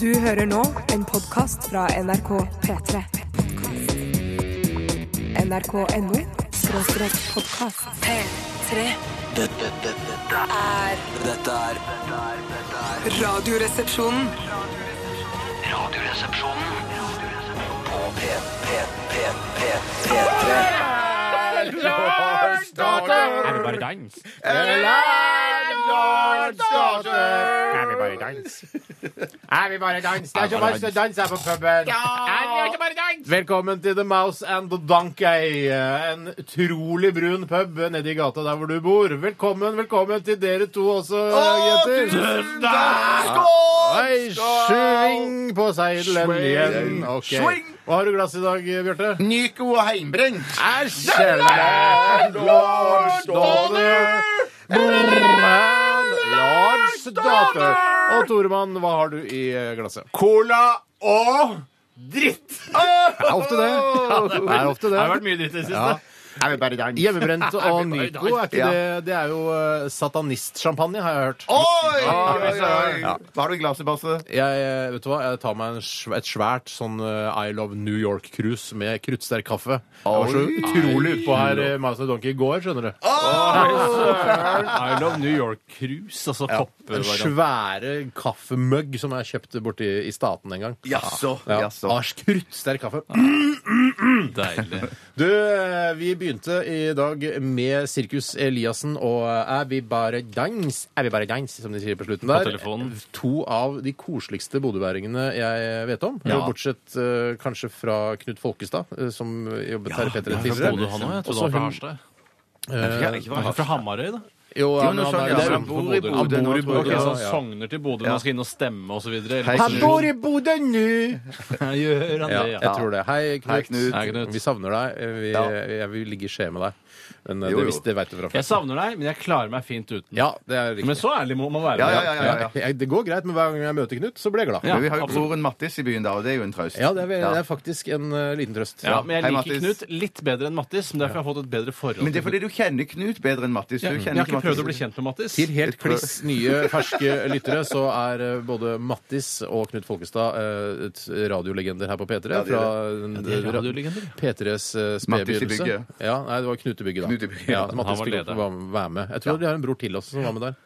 Du hører nå en podkast fra NRK P3. NRK.no skråstrek podkast. P3. Dette, dette, dette, Er dette er dette er- dette er Radioresepsjonen. Radioresepsjonen på P, P, P, P, P3. Er vi bare dans? Er vi bare dans? Er vi bare dans? Det er så masse dans her på puben. Er vi bare dans? Velkommen til The Mouse and the Donkey, en utrolig brun pub nede i gata der hvor du bor. Velkommen, velkommen til dere to også, jenter. Hei, sving på seilen igjen. Ok. Hva har du glass i dag, Bjarte? Nico Heimbrent. Æsj! Lars Daughter. Brorman Lars Daughter. Og Toremann, hva har du i eh, glasset? Cola og dritt. Det er ofte det. Det er ofte det. mye dritt i det Ja. Er vi bare i dans? Hjemmebrent og Nico, er ikke Ja. det, det er jo eh, satanistsjampanje, har jeg hørt. Oi, oi, oi. oi. Hva har du i glasset, Basse? Jeg, eh, vet du hva? jeg tar meg en, sv- et svært sånn eh, I Love New York-krus med kruttsterk kaffe. Jeg var så Oi. utrolig utpå her eh, Mouse and Donkey i går, skjønner du. I love New York Cruise, altså Den poppe-variant. svære kaffemugg som jeg kjøpte borti i staten en gang. Jaså. Ja. jaså. Ah, Ars kruttsterk kaffe. Deilig. Du, eh, vi begynte i dag med Sirkus Eliassen og eh, Er vi bare dans? Er vi bare dans, som de sier på slutten der. telefonen. To av de koseligste bodøværingene jeg vet om. Ja. Bortsett eh, kanskje fra Knut Folkestad, eh, som jobbet her i P3 Jeg er fra Bodø, tidligere. han òg. Jeg trodde Også han var fra hun- Harstad. Jeg vet ikke hva Han det er fra Hamarøy, da. Jo, Jo, han, nå han, skjønner er- jeg. det er- Han bor i han Bodø bor i nå, Bodø. Ok, så ja, han ja. sogner til Bodø når han skal inn og stemme og så videre. Hei, Han bor i Bodø nå! Gjør han Ja, det, jeg tror det. Hei, Knut. Hei, Knut. Hei, Knut. Vi savner deg. Vi, Ja. jeg, vi ligger i skje med deg. Men eh, Jo, det, jo. visste- det veit du fra før. Jeg savner deg, men jeg klarer meg fint uten. Ja, det er riktig. Men så ærlig må man være. Ja, ja, ja, ja, ja. Jeg- Det går greit, men hver gang jeg møter Knut, så blir jeg glad. Ja. Men vi har jo absolutt. broren Mattis i byen, da, og det er jo en trøst. Ja, det er, vel- Ja. det er faktisk en eh, liten trøst. Ja, men jeg Hei, liker Mattis. Knut litt bedre enn Mattis, men derfor har jeg fått et bedre forhold. Men det er til fordi du kjenner Knut bedre enn Mattis. Du Knut. jeg kjenner har ikke prøvd å bli kjent med Mattis. Til helt kliss nye, ferske lyttere så er eh, både Mattis og Knut Folkestad eh, et radiolegender her på P3. Ja, de er fra det. de er radiolegender, ja. P3s eh, spede Mattis i begynnelse. bygget. Ja, nei, det var Knut i bygget, da. Knut i bygget, ja, ja. så Mattis Han var fikk lov leder. til å være- være med. Jeg tror de har en bror til også som var med der.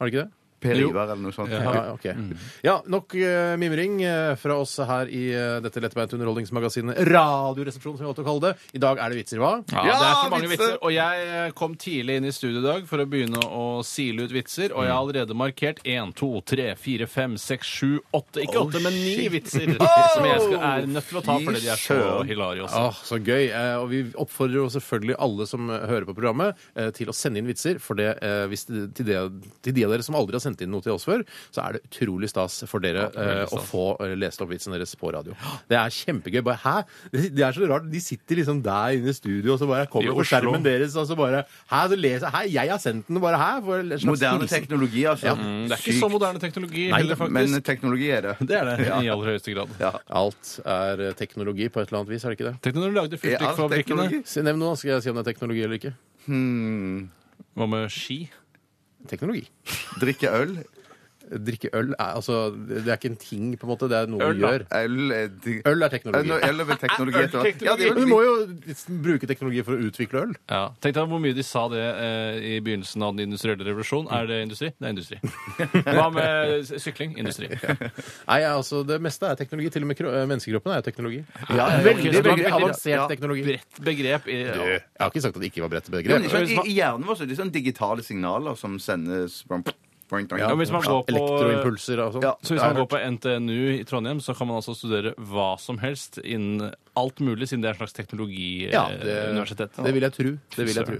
Har de ikke det? Per Jo. Ivar eller noe sånt. Ja. Ja, ok. Mm. ja nok eh, mimring eh, fra oss her i eh, dette lettbeinte underholdningsmagasinet Radioresepsjonen, som vi valgte å kalle det. I dag er det vitser, hva? Ja, Ja, det er for mange vitser! vitser. Og jeg eh, kom tidlig inn i studio i dag for å begynne å sile ut vitser, og jeg har allerede markert 1, 2, 3, 4, 5, 6, 7, 8 Ikke 8, men 9 vitser som jeg skal, er nødt til å ta fy fordi de er så søren. hilarious. Åh, så gøy. Eh, og vi oppfordrer jo selvfølgelig alle som eh, hører på programmet, eh, til å sende inn vitser. For det, eh, hvis det, til, det, til de av dere som aldri har sendt inn noe til oss før, så er det utrolig stas for dere eh, å få eh, lest opp vitsen deres på radio. Det er kjempegøy. Bare hæ? Det det er så rart. De sitter liksom der inne i studio, og så bare I kommer på Oslo. skjermen deres, og så bare Hæ, så leser jeg Hæ, jeg har sendt den, bare hæ? For en slags Moderne hilsen. teknologi, altså. Mm, Det er ikke så moderne teknologi Nei, heller, faktisk. men teknologi er det. Det er det i aller høyeste grad. Ja. Alt er eh, teknologi på et eller annet vis, er det ikke det? Tenk deg når du lagde Er alt fyrstikkfabrikkene. teknologi? Mm. Si- Nevn noe, skal jeg si om det er teknologi eller ikke. Hva med ski? Teknologi. Drikke øl. Drikke øl er, altså, det er ikke en ting, på en måte. Det er noe du Øl, da. gjør. Øl er di- Øl er Øl teknologi. og- øl er vel teknologi etter hvert. Ja, det er Eh, Men vel- du må jo bruke teknologi for å utvikle øl. Ja. Tenk deg hvor mye de sa det eh, i begynnelsen av den industrielle revolusjon. Er det industri? Det er industri. Hva med s- sykling? Industri. Nei, altså, Det meste er teknologi. Til og med kro- eh, menneskekroppen er jo teknologi. Ja, ja, veldig, ok, så det er veldig veldig- avansert ja. teknologi. Bredt begrep. I, Du, Jeg har ikke sagt at det ikke var bredt Ja, men begrep. det er sånn, i, I hjernen vår så er det sånn digitale signaler som sendes from, Ja, hvis man går på- Elektroimpulser og sånn. Ja. Så hvis man går på NTNU i Trondheim, så kan man altså studere hva som helst innen alt mulig, siden det er en slags Ja, det, teknologiuniversitet. det vil jeg tro. Det vil jeg tro.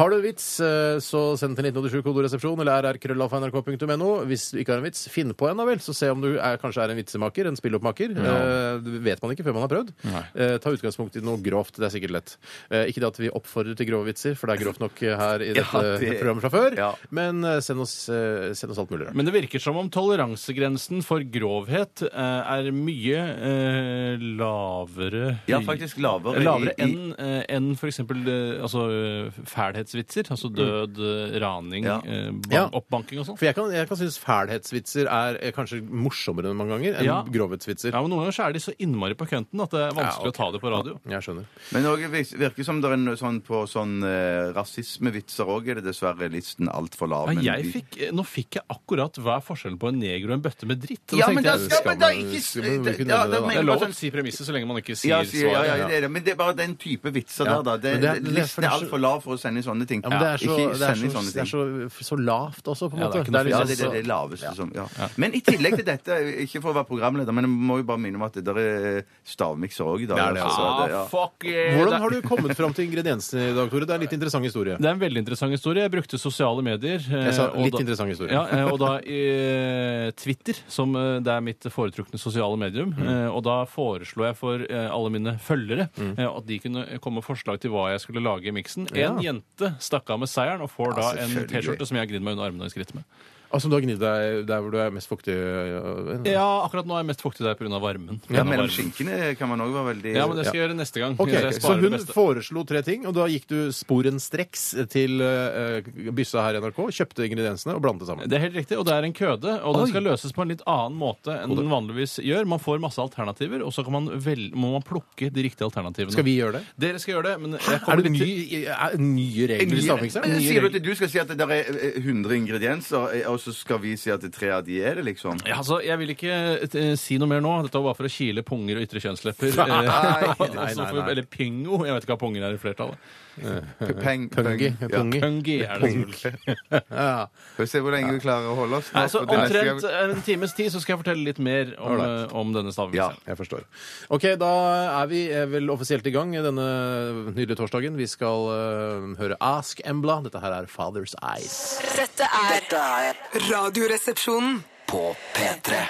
Har du en vits, eh, så send til 1987 kodoresepsjon eller rrkrøllalfa.nrk.no. Hvis du ikke har en vits, finn på en, da vel. Så se om du er, kanskje er en vitsemaker, en spilloppmaker. Eh, Det vet man ikke før man har prøvd. Eh, ta utgangspunkt i noe grovt. Det er sikkert lett. Eh, ikke det at vi oppfordrer til grove vitser, for det er grovt nok eh, her i dette det- programmet fra før. Ja. Men eh, send oss, eh, send oss alt mulig rart. Men det virker som om toleransegrensen for grovhet eh, er mye eh, lavere Ja, faktisk lavere. i- Lavere i- enn eh, enn for f.eks. Altså, eh, fælhetsvitser. Altså død, eh, raning, Ja. eh, ban- Mm. Ja. oppbanking og sånn. For jeg kan, jeg kan synes fælhetsvitser er eh, kanskje morsommere mange ganger enn Ja. grovhetsvitser. Ja, men Noen ganger så er de så innmari på kønten at det er vanskelig Ja, ok. å ta det på radio. Jeg skjønner. Men det virker som det er en sånn på sånn eh, rasismevitser òg, er det dessverre listen altfor lav. men Ja, jeg vi- fikk, eh, nå fikk jeg akkurat hva er forskjellen på en neger og en bøtte med dritt. Og Ja, da men tenkte da jeg, skal man da man- ikke skal man- vi kunne ja, nevne da det, da. mener Det er jeg lov bare å si premisset så lenge man ikke sier Ja, sier, ja, ja, svaret. det er det. Men det er bare den type vitser Ja. der, da. Det, Men det er- det er listen er fordi- altfor lav for å sende sånne ting. Ja, men det er så, ikke det er sende så, sånne det er ting. så, så lavt også, på en Ja, det måte. er ikke Det noe er Ja, liksom det er det, så- det laveste som ja. Men i tillegg til dette, ikke for å være programleder, men jeg må jo bare minne om at det der er stavmikser òg i dag. Det er det, altså, Ah, det- ja. fuck yeah. Hvordan har du kommet fram til ingrediensene i dag, Tore? Det er en litt interessant historie. Det er en veldig interessant historie. Jeg brukte sosiale medier. eh, Jeg sa og litt da- interessant historie. Ja, eh, og da eh, Twitter, som eh, det er mitt foretrukne sosiale medium. Mm. eh, Og da foreslo jeg for eh, alle mine følgere Mm. eh, at de kunne komme med forslag til hva jeg skulle lage i miksen. En jente stakk av med seieren og får da Ja, en selvfølgelig. T-skjorte som jeg har gnidd meg under armene og skrittet med. Altså, du har gnidd deg der hvor du er mest fuktig? øh, øh. Ja, akkurat nå er jeg mest fuktig der pga. varmen. Ja, På grunn av mellom varmen. skinkene kan man òg være veldig Ja, men det skal jeg gjøre neste gang. Ok, så jeg Så sparer hun det beste. foreslo tre ting, og da gikk du sporenstreks til øh, øh, byssa her i NRK, kjøpte ingrediensene og blandet det sammen. Det er helt riktig, og det er en køde, og Oi. den skal løses på en litt annen måte enn den vanligvis gjør. Man får masse alternativer, og så kan man vel, må man plukke de riktige alternativene. Skal vi gjøre det? Dere skal gjøre det, men jeg Er kommer det litt til- ny- er det nye regler i stavmikseren? Men Nye Sier du regler. at du skal si at det der er eh, 100 ingredienser, eh, og så skal vi si at det tre av de er det, liksom? Ja, altså, jeg vil ikke eh, si noe mer nå. Dette var bare for å kile punger og ytre kjønnslepper. Eh, Nei, og nei, så nei, for- nei. Eller pingo. Jeg vet ikke hva punger er i flertallet. Peng, Pungi. peng. Ja. pungi. Pungi er det. selvfølgelig. Ja. Får vi se hvor lenge vi klarer å holde oss. nå, Nei, så for det neste gang- omtrent en times tid så skal jeg fortelle litt mer om, Alright. eh, om denne Ja. stavmikseren. Jeg forstår. Ok, da er vi eh, vel offisielt i gang denne nydelige torsdagen. Vi skal eh, høre Ask Embla. Dette her er Father's Eyes. Dette er Radioresepsjonen. På P3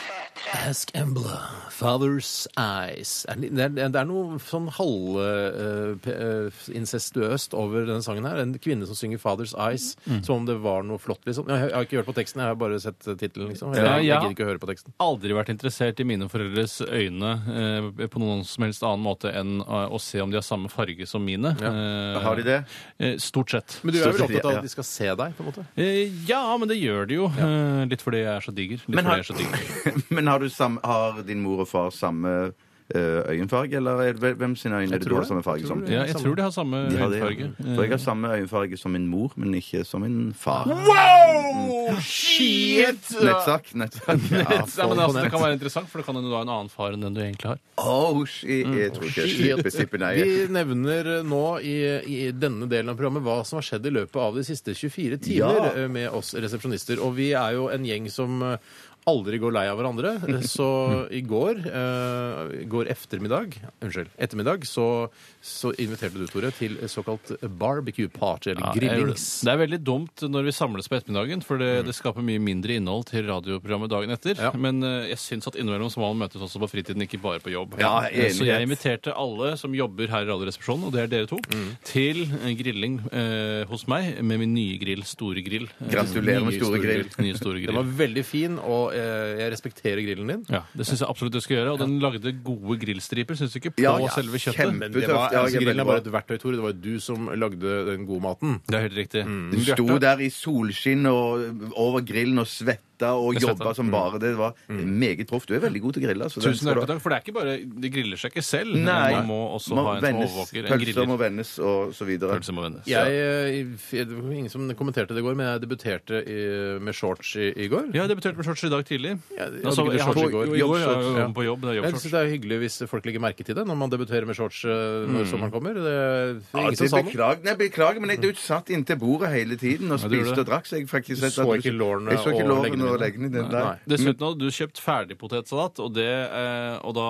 Ask Embla. Father's Eyes. Er Det det er, det er noe sånn eh, halvincestuøst over denne sangen her. En kvinne som synger Father's Eyes som om det var noe flott, liksom. Jeg har- jeg har ikke hørt på teksten, jeg har bare sett eh, tittelen, liksom. Jeg, Ja, jeg, ja. gidder ikke å høre på teksten. aldri vært interessert i mine foreldres øyne eh, på noen som helst annen måte enn eh, å se om de har samme farge som mine. Eh, Har de det? eh, Stort sett. Men du er vel Stort sett, opptatt av ja. at de skal se deg, på en måte? Eh, Ja, men det gjør de jo. Eh, Litt fordi jeg er så diger. Litt Men fordi har- jeg er så diger. Men har, du sam, har din mor og far samme eh, øyenfarge, eller er det, hvem sine øyne er det tror du har det. samme farge som? tror det. Ja, jeg tror de har samme De har det, ja. øyenfarge. For jeg har samme øyenfarge som min mor, men ikke som min far. Mm. Shit! Nettsak, nettsak. Ja, men altså, det kan være interessant, for det kan hende du har en annen far enn den du egentlig har. Oh, shit. Jeg tror ikke jeg slipper nei. Vi nevner nå i, i denne delen av programmet hva som har skjedd i løpet av de siste 24 timer Ja. eh, med oss resepsjonister. Og vi er jo en gjeng som eh, aldri går lei av hverandre. Eh, Så i går, eh, i går eftermiddag, unnskyld, ettermiddag, så, så inviterte du, Tore, til såkalt barbecue party, eller Ja, jeg gjør det. grillings. det er veldig dumt når vi samles på ettermiddagen, for Mm. det, det skaper mye mindre innhold til radioprogrammet dagen etter. Ja. Men eh, jeg syns at innimellom så må man møtes også på fritiden, ikke bare på jobb. Ja, Eh, så jeg enighet. inviterte alle som jobber her i Radioresepsjonen, og det er dere to, Mm. til en grilling eh, hos meg med min nye grill, Store Grill. Eh, Gratulerer med nye Store Grill. Nye Store Den Grill. var veldig fin, og eh, jeg respekterer grillen din. Ja, Det syns jeg absolutt du skal gjøre. Og den lagde gode grillstriper, syns du ikke, på Ja, ja, selve kjøttet. kjempe- Men det var, Ja, jeg er altså, grillen veldig er bare et verktøy, Tore. Det var jo du som lagde den gode maten. Det er helt riktig. Hun sto der i solskinn og over grillen og svetta og Jeg svetta. jobba som bare det. Det var meget proft. Du er veldig god til å grille. altså. Den Tusen skal du hjertelig ha. takk. For det er ikke bare De griller seg ikke selv. Nei. Man må også Må ha en som vendes, overvåker. En Pølser må griller. vendes og så videre. Pølse må vendes. Jeg, eh, det var ingen som kommenterte det i går, men jeg debuterte i, med shorts i, i går. Jeg har debutert med shorts i dag tidlig. jeg hadde Altså, ikke jeg har- shorts i jo, går. jo, jo, jeg Jobbshorts, er ja. jo på jobb. Det er Jeg synes jobbshorts. det er hyggelig hvis folk legger merke til det når man debuterer med shorts eh, når sommeren kommer. Det er Ja, ingen som det sa noe. beklager, nei, beklager, men jeg, du satt inntil bordet hele tiden og du gjorde spiste det. og drakk. Så jeg fikk ikke Du sett så at ikke lårene jeg så ikke og leggene lårene og dine. leggene dine. Nei. Nei. Dessuten hadde du kjøpt ferdigpotetsalat, og, det, eh, og da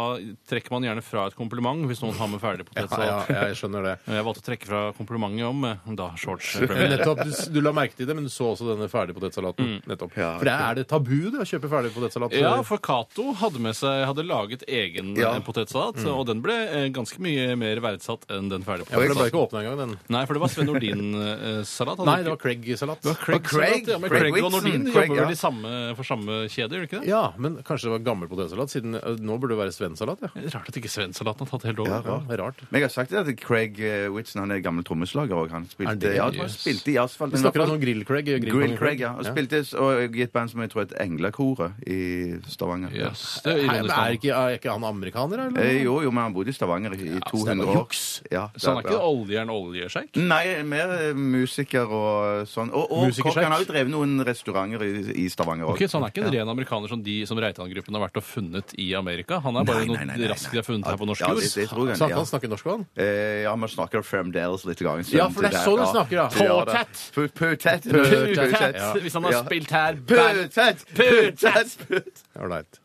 trekker man gjerne fra et kompliment hvis noen har med Ja, ja, ferdigpotetsalat. jeg skjønner det. Jeg valgte å trekke fra komplimentet om eh, da shorts. Men ble med. Nettopp, du, s- du la merke til det, men du så også denne ferdigpotetsalaten. Nettopp. Ja, For det er det tabu det, å kjøpe ferdigpotetsalat. Ja, for Cato hadde med seg, hadde laget egen Ja. eh, potetsalat, Mm. og den ble eh, ganske mye mer verdsatt enn den Ja, for det ble ferdigpotetsalaten. ikke åpna engang, den. Nei, for det var Sven eh, Nordin-salat. Nei, det var Craig-salat. Det var Craig, Og Craig- som het det, ja, men Craig Craig og Whitson. Nordin Craig, jobber ja. vel i samme samme, for samme kjede, gjør det ikke det? Ja, men kanskje det var gammel potetsalat? Siden eh, nå burde det være svensalat, ja. Det er Rart at ikke svenssalaten har tatt helt over. Ja, rart. Men jeg har sagt det at Craig eh, Whitson han er gammel trommeslager òg. Han spilte, det- ja, han Yes. spilte i Asfalt. Vi snakker sånn om sånn Grill-Craig. Grill Craig, ja. Og spilte s- og eh, i et band som jeg tror het Englakoret i Stavanger. Yes, det er Nei, men ironisk. er, nok. ikke, er ikke han amerikaner, eller? Eh, Jo, jo, men han bodde i Stavanger i i 200 år. juks. Ja, det Så han er er ikke bra. oljejern oljesjeik? Nei, mer eh, musiker og sånn. Og, og Musikersjekk. kokk. Han har jo drevet noen restauranter i, i Stavanger òg. Ok, så han er ikke en ren amerikaner som de som Reitan-gruppen har vært og funnet i Amerika? Han er bare noe raskt de har funnet her på norsk ja, jord? Det, det tror jeg, Så han ja. kan snakke norsk, han? Eh, ja, man snakker Fremdales litt. Gang, Ja, for det er sånn du snakker, ja. Påtett! Påtett! Påtett. Tett, Hvis han har Ja. spilt her bad. Påtett! Påtett! Ålreit.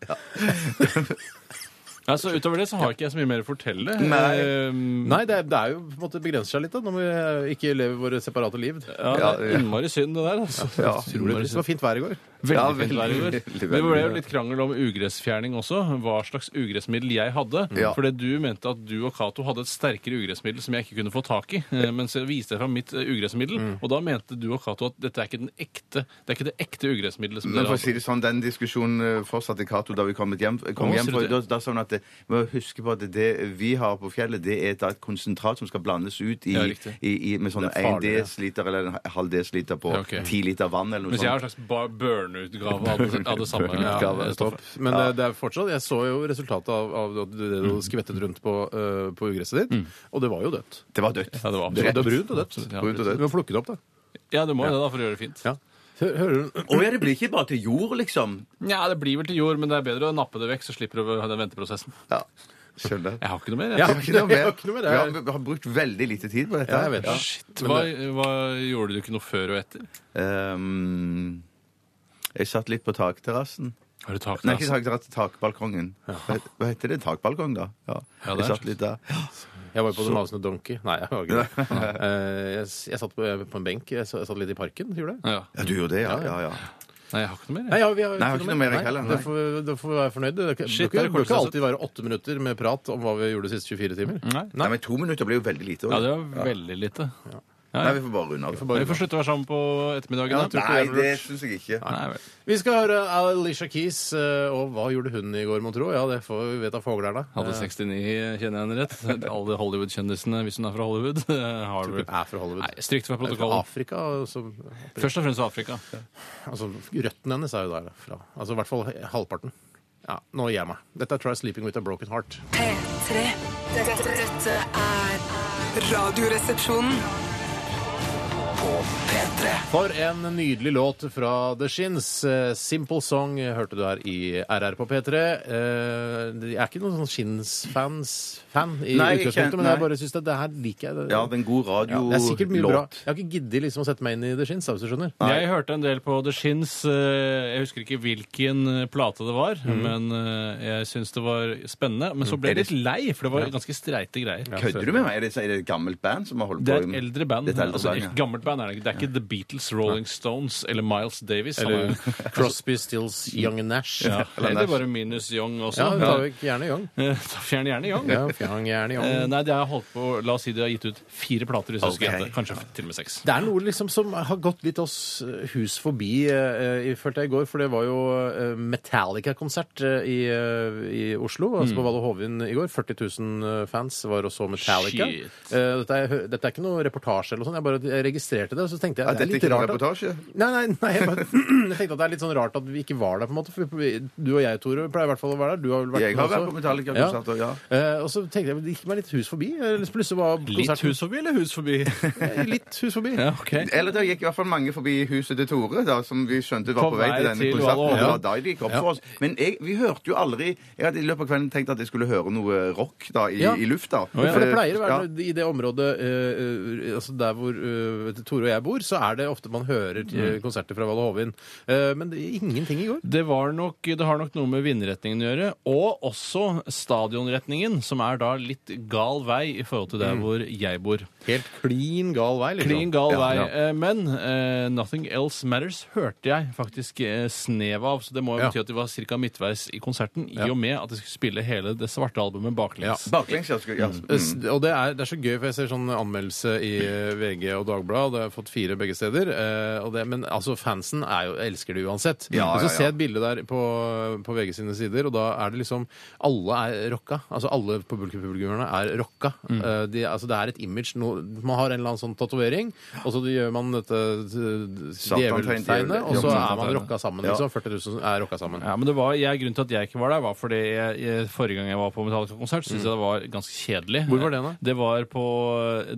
Altså, Utover det så har ikke jeg så mye mer å fortelle. Nei. Ehm, Nei, det er, det er jo på en måte begrenser seg litt, da, når vi eh, ikke lever våre separate liv. Ja, det Ja, er ja. innmari synd, det der. altså. Ja. Utrolig trist. Det var fint vær i går. Ja, Veldig veldig, fint vær i går. veldig, Det ble jo veldig. litt krangel om ugressfjerning også. Hva slags ugressmiddel jeg hadde. Ja. Fordi du mente at du og Cato hadde et sterkere ugressmiddel som jeg ikke kunne få tak i. eh, Men så viste jeg fram mitt eh, ugressmiddel, Mm. og da mente du og Cato at dette er ikke, den ekte, det er ikke det ekte ugressmiddelet som Men dere for å si hadde. det sånn, Den diskusjonen eh, fortsatte Cato da vi kom hjem. Kom Å, hjem sier for, du da, det? da sa hun at det, vi må huske på at det vi har på fjellet, det er da et konsentrat som skal blandes ut i, Ja, riktig. i, i, med sånn Det er 1 farlig, ja. dl eller en halv dl på Ja, ok. 10 liter vann eller noe Mens jeg har en sånt. slags bar- burn-utgave av, det- av det samme. Burn-utgave, eh, Stopp. stoffet. Men eh, det er fortsatt Jeg så jo resultatet av, av det du- det du skvettet rundt på, eh, på ugresset ditt, og det var jo dødt. Det var dødt. Ja, det var Det absolutt var brunt og dødt. Absolutt, ja. Brunt og Du dødt. må plukke det opp, da. Ja, du må jo det, da, for å gjøre det fint. Ja. Hø- Hører du Å ja, det blir ikke bare til jord, liksom. Ja, det blir vel til jord, men det er bedre å nappe det vekk, så slipper du den venteprosessen. Ja, Skjønner. Jeg har ikke noe mer. jeg. Ja. Jeg har ikke noe mer. Jeg har ikke noe mer, det Vi er- har, vi har brukt veldig lite tid på dette. Ja, jeg vet det. Shit, hva, hva gjorde du ikke noe før og etter? Ehm, jeg satt litt på takterrassen. Har du tak Nei, ikke takterrassen, takbalkongen. Hva het- hva heter det? Takbalkong, da? Ja, Ja, jeg det er satt litt der. Jeg var jo på The Mouse and the Donkey. Nei, jeg var ikke det. Eh, Jeg, s- jeg satt på, på en benk. Jeg s- jeg satt litt i parken. Gjorde jeg? Ja. Ja, du gjorde det, ja. ja, ja. Nei, jeg har ikke noe mer. Nei, jeg. ja, vi har Nei, jeg har ikke noe mer, jeg heller, Nei, nei. Da får da får vi være fornøyd. Det kan- Shit, det kan- det er bør ikke kortsluttet. alltid altså. være åtte minutter med prat om hva vi gjorde de siste 24 timer. Nei. Nei, men to minutter blir jo veldig lite. Ja, også. det var veldig lite. Nei, vi får bare runde av. Men Vi får slutte å være sammen på ettermiddagen. da. Nei, det syns jeg ikke. Nei, vel. Vi skal høre Alicia Keys. eh, Og hva gjorde hun i går, mon tro? Ja, det får vi vite av fuglerne. Hadde 69, kjenner jeg henne rett. Alle Hollywood-kjendisene, hvis hun er fra Hollywood. Har Hun er vel- fra Hollywood. Nei, strikt fra Fra protokollen. Afrika. Altså, Først og fremst Afrika. altså, røttene hennes er jo der fra. Altså i hvert fall halvparten. Ja, nå gir jeg meg. Dette er Try Sleeping With A Broken Heart. P3. Dette, dette er Radioresepsjonen. For en nydelig låt fra The Shins. Eh, Simple Song eh, hørte du her i RR på P3. Eh, Jeg er ikke noen sånn Shins-fans fan i Nei, ikke- utgangspunktet, men nei. jeg bare syns det, det her liker jeg. Ja, det er en god Ja, det er sikkert mye bra. radiolåt. Jeg har ikke giddet liksom å sette meg inn i The Shins, da, hvis du skjønner. Jeg hørte en del på The Shins. eh, Jeg husker ikke hvilken eh, plate det var, Mhm. men eh, jeg syns det var spennende. Mm. Men så ble jeg litt lei, for det var ganske streite greier. Kødder du med meg? Er det, er det et gammelt band som har holdt Det på er et eldre band. Det er et eldre altså, band, ja. et gammelt band er det ikke. Det er ikke The Beatles, Rolling Stones eller Miles Davis. Han Eller er- Crosby, Stills, Young and Nash. ja. Ja, eller bare minus Young da også. tar vi gjerne Young. Eh, ta- Fjern gjerne Young. Ja, fjern gjerne Eh, Young. Nei, det har holdt på La oss si de har gitt ut fire plater, hvis jeg Ok. husker rett. Kanskje til og med seks. Det er noe liksom som har gått litt oss eh, hus forbi, eh, eh, følte jeg i går. For det var jo eh, Metallica-konsert eh, i, eh, i Oslo, Mm. altså på Valle Hovin i går. 40 000 fans var og så Metallica. Shit. Eh, Dette er, dette er ikke noe reportasje eller noe sånt. Jeg bare jeg registrerte det, så tenkte jeg At det er dette litt ikke er en rart. at- reportasje? Nei, nei, nei jeg, bare, jeg tenkte at det er litt sånn rart at vi ikke var der, på en måte. For vi- du og jeg, Tore, pleier i hvert fall å være der. Du har vel vært Jeg med har vært også. på Metallica-konserter, ja. Eh, og så tenkte jeg det gikk meg litt hus forbi. Eh, Plutselig var Litt konserten hus forbi eller hus forbi? Eh, litt hus forbi. ja, ok. Eller det gikk i hvert fall mange forbi huset til Tore, da, som vi skjønte var På på, vei til vei denne til konserten. Valle og Det Hovin. var da det gikk opp for oss. Men jeg, vi hørte jo aldri Jeg hadde i løpet av kvelden tenkt at jeg skulle høre noe rock da, i, Ja. i lufta. For det pleier å være i det området eh, eh, altså der hvor eh, Tore og jeg bor, så er det ofte man hører eh, konserter fra Valle Hovin. Eh, men det, ingenting i går. Det, var nok, det har nok noe med vindretningen å gjøre, og også stadionretningen, som er da litt gal vei i forhold til der hvor jeg bor. Helt klin gal vei. Liksom. Klin gal Ja, vei. ja. Eh, Men eh, Nothing Else Matters hørte jeg faktisk eh, snev av, så det må jo Ja. bety at de var ca. midtveis i konserten, i og med at de skulle spille hele det svarte albumet baklengs. Mm. Baklengs, ja. skulle- ja. S- Og det er, det er så gøy, for jeg ser sånn anmeldelse i eh, VG og Dagbladet. eh, fått fire begge steder. eh, og det, men altså, fansen er jo, elsker det uansett. Ja, Men så ja, ser ja. jeg et bilde der på, på VG sine sider, og da er det liksom Alle er rocka. Altså alle på publikum- publikummerne er rocka. Mm. Eh, de, altså, det er et image. No, man har en eller annen sånn tatovering, og så gjør man dette eh, Satantegn, djeveltegnet, og så djevel- er man rocka sammen. Ja. Liksom. 40 000 er rocka sammen. Ja, men det var, jeg, Grunnen til at jeg ikke var der, var fordi jeg, jeg, forrige gang jeg var på Metallica-konsert, syntes jeg det var ganske kjedelig. Mm. Hvor var det da? Det var på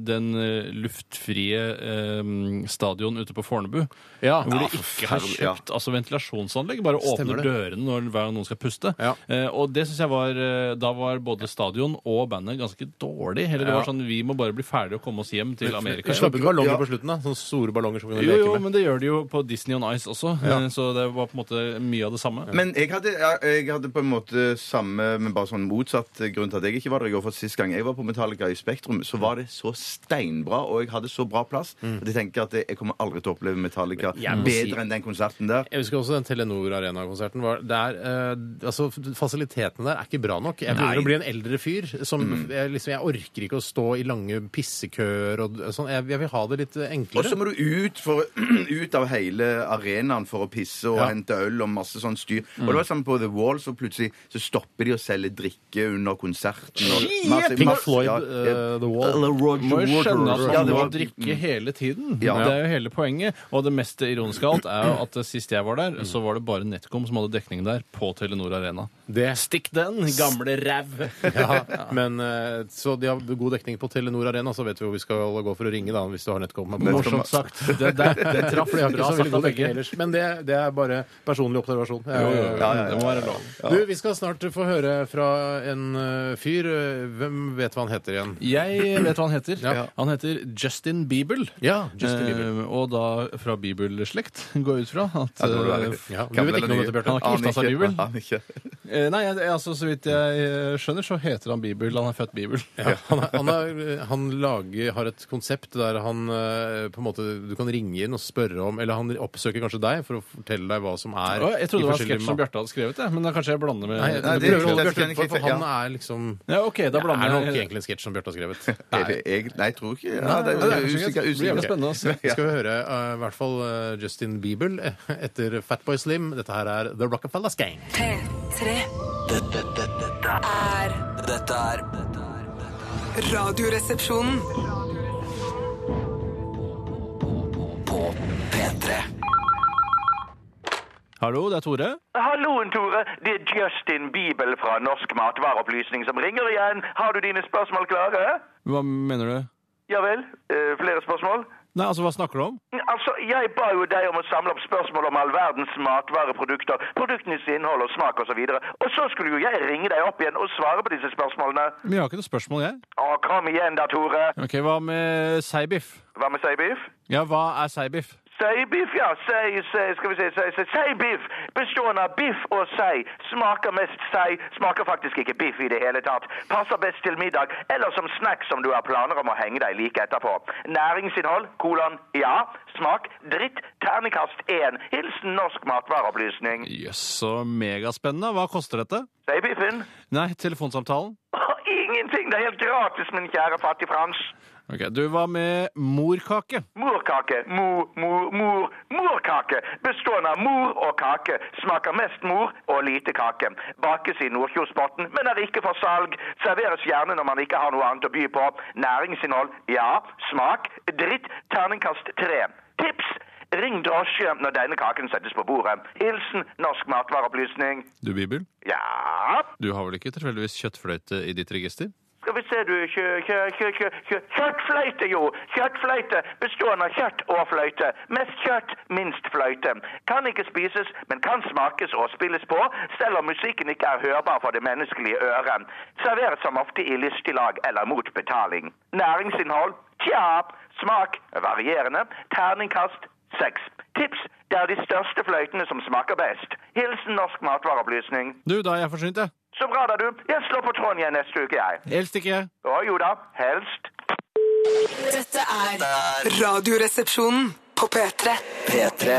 den eh, luftfrie eh, stadion ute på Fornebu. Ja. Hvor de forferdelig, ikke har kjøpt altså ventilasjonsanlegg. Bare Stemmer åpner det. dørene når hver gang noen skal puste. Ja. Eh, og det synes jeg var eh, Da var både stadion og bandet ganske dårlig. Eller det Ja. var sånn Vi må bare bli ferdige og komme oss hjem til Amerika. Vi slapp ut ballonger Ja. på slutten, da. Sånne store ballonger som vi kunne Jo, leke jo, med. men det gjør de jo på Disney on Ice også. eh, Så det var på en måte mye av det samme. Men jeg hadde, jeg- jeg hadde på en måte samme, men bare sånn motsatt eh, grunn til at jeg ikke var der i går. For sist gang jeg var på Metallica i Spektrum, så var det så steinbra, og jeg hadde så bra plass. At jeg tenker at jeg kommer aldri til å oppleve Metallica bedre enn den konserten der. Jeg husker også den Telenor Arena-konserten. var- Der, eh, altså, Fasilitetene der er ikke bra nok. Jeg begynner å bli en eldre fyr. Som, Mm. jeg, liksom, jeg orker ikke å stå i lange pissekøer og sånn. Jeg, jeg vil ha det litt eh, Og så enklere. må du ut, for, ut av hele arenaen for å pisse og Ja. hente øl og masse sånn styr. Og det var sånn på The Wall, så plutselig så stopper de å selge drikke under konserten. Og masse, Pink masse- Floyd, ja, eh, The Wall. Eller Roger må jo skjønne at Waters. man Ja, det må var- drikke hele tiden. Ja. Det er jo hele poenget. Og det mest ironiske av alt er jo at sist jeg var der, så var det bare NetCom som hadde dekning der på Telenor Arena. Det Stikk den, gamle ræv! ja, men eh, Så de har god dekning på Telenor Arena, så vet vi hvor vi skal gå for å ringe da, hvis du har nettkommet. Morsomt sagt. Det, det, det traff For de har ikke bra så veldig sagt god av dekning begge. ellers. Men det, det er bare personlig observasjon. Jeg- Ja, ja, ja. Det må være lov. Du, Vi skal snart få høre fra en eh, fyr. eh, Hvem vet hva han heter igjen? Jeg vet hva han heter. Ja. Han heter Justin Bieber. Ja, Justin Bieber. Eh, og da fra bibelslekt, går jeg ut fra. At, Ja, det var det. eh, Ja, du Gammel vet ikke noe om eller dette, ny? Bjarte. Han har ikke gifta seg, Aner ikke. Bibel. Aner ikke. eh, nei, jeg- altså, så vidt jeg eh, skjønner, så heter han Bibel. Han er født Bibel. Ja, han, er- han, er, han lager, har et konsept der han eh, på en måte, du kan ringe inn og spørre om Eller han oppsøker kanskje deg for å fortelle deg hva som er Å, jeg i trodde det var forskjellige sketsj som mat- Bjarte hadde skrevet, jeg, men da kanskje jeg blander med Nei, jeg, Nei, jeg det- prøver å holde det Bjarte skal jeg utenfor, for ikke- han ja. er liksom Ja, OK, da Det er blander nok jeg. egentlig en sketsj som Bjarte har skrevet. Er det egentlig- Nei, jeg tror ikke ja, Nei, det, det det, er er kanskje ikke- usikker, det blir usikker. jævlig spennende å se. Vi skal høre eh, i hvert fall eh, Justin Bieber eh, etter Fatboy Slim. Dette her er The Rockefellers Gang. P3 Dette, dette, dette, er dette er Radioresepsjonen. på P3. Hallo, det er Tore. Halloen, Tore. Det er Justin Bibel fra Norsk matvareopplysning som ringer igjen. Har du dine spørsmål klare? Hva mener du? Ja vel? Eh, flere spørsmål? Nei, altså, hva snakker du om? Altså, Jeg ba jo deg om å samle opp spørsmål om all verdens matvareprodukter, produktenes innhold og smak osv. Og, og så skulle jo jeg ringe deg opp igjen og svare på disse spørsmålene. Men jeg har ikke noe spørsmål, jeg. Å, kom igjen da, Tore. Ok, Hva med seibiff? Hva med seibiff? Ja, hva er seibiff? Seibiff, ja. Sei, sei, skal vi se, sei, sei. Seibiff bestående av biff og sei. Smaker mest sei. Smaker faktisk ikke biff i det hele tatt. Passer best til middag eller som snack som du har planer om å henge deg like etterpå. Næringsinnhold, kolon, ja. Smak, dritt, terningkast én. Hilsen Norsk matvareopplysning. Jøss, så megaspennende. Hva koster dette? Seibiffen? Nei, telefonsamtalen. Å, Ingenting! Det er helt gratis, min kjære fattig Frans. Ok, Du, hva med morkake? Morkake. Mor, mor, mor. Morkake. Bestående av mor og kake. Smaker mest mor og lite kake. Bakes i Nordkjosbotn, men er ikke for salg. Serveres gjerne når man ikke har noe annet å by på. Næringsinnhold ja. Smak dritt. Terningkast tre. Tips! Ring drosje når denne kaken settes på bordet. Hilsen Norsk matvareopplysning. Du, Bibel, Ja du har vel ikke tilfeldigvis kjøttfløyte i ditt register? Skal vi se, du. Kjø, kjø, kjø, kjø, kjø. Kjøttfløyte, jo. Kjøttfløyte bestående av kjøtt og fløyte. Mest kjøtt, minst fløyte. Kan ikke spises, men kan smakes og spilles på, selv om musikken ikke er hørbar for det menneskelige øret. Serveres som ofte i lystig lag eller mot betaling. Næringsinnhold? Tja. Smak? Varierende. Terningkast? Seks. Tips? Det er de største fløytene som smaker best. Hilsen Norsk matvareopplysning. Du, da er jeg forsynt, jeg. Så bra da, du. Jeg slår på tråden igjen neste uke, jeg. Helst ikke jeg. Å jo da, helst. Dette er Radioresepsjonen. på P3. P3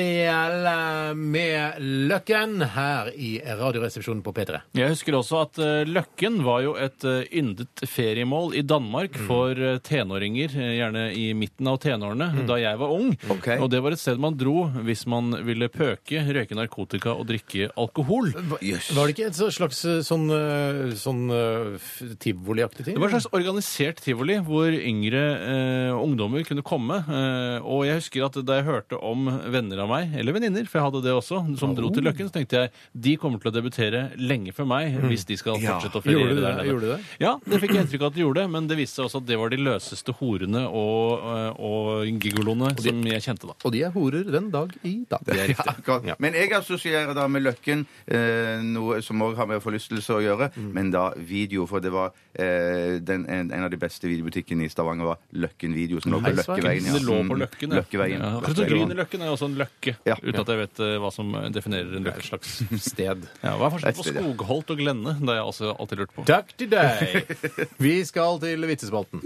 Gabrielle med Løkken her i Radioresepsjonen på P3. Jeg husker også at eh, Løkken var jo et eh, yndet feriemål i Danmark for eh, tenåringer, eh, gjerne i midten av tenårene, da jeg var ung. Ok. Og det var et sted man dro hvis man ville pøke, røyke narkotika og drikke alkohol. Jøss. Var det ikke et så- slags eh, sånn, eh, sånn eh, f- tivoliaktig ting? Det var en slags organisert tivoli hvor yngre eh, ungdommer kunne komme. Eh, og jeg husker at da jeg hørte om venner av meg, eller venninner, for jeg hadde det også, som dro til Løkken, så tenkte jeg de kommer til å debutere lenge før meg hvis de skal Ja. fortsette å Gjorde feriere du der det? nede. Gjorde du det? Ja, det fikk jeg inntrykk av at de gjorde, men det viste seg også at det var de løseste horene og, eh, og gigoloene som jeg kjente da. Og de er horer den dag i dag. Det er riktig. Akkurat. Men jeg assosierer da med Løkken eh, noe som òg har med forlystelse å gjøre, men da video. For det var eh, den, en, en av de beste videobutikkene i Stavanger var Løkken Video, som lå på Nei, så er det- Løkkeveien. Det lå på Mm, Løkken, ja. Løkkeveien. Ja, akkurat som Grünerløkken Løkkeveien. er jo også en løkke, Ja. uten at jeg vet eh, hva som definerer en løkkeslags. Sted. Ja, hva er forskjellen på Det er et sted, Skogholt og Glenne? Det har jeg også alltid lurt på. Takk til deg! Vi skal til vitsespalten.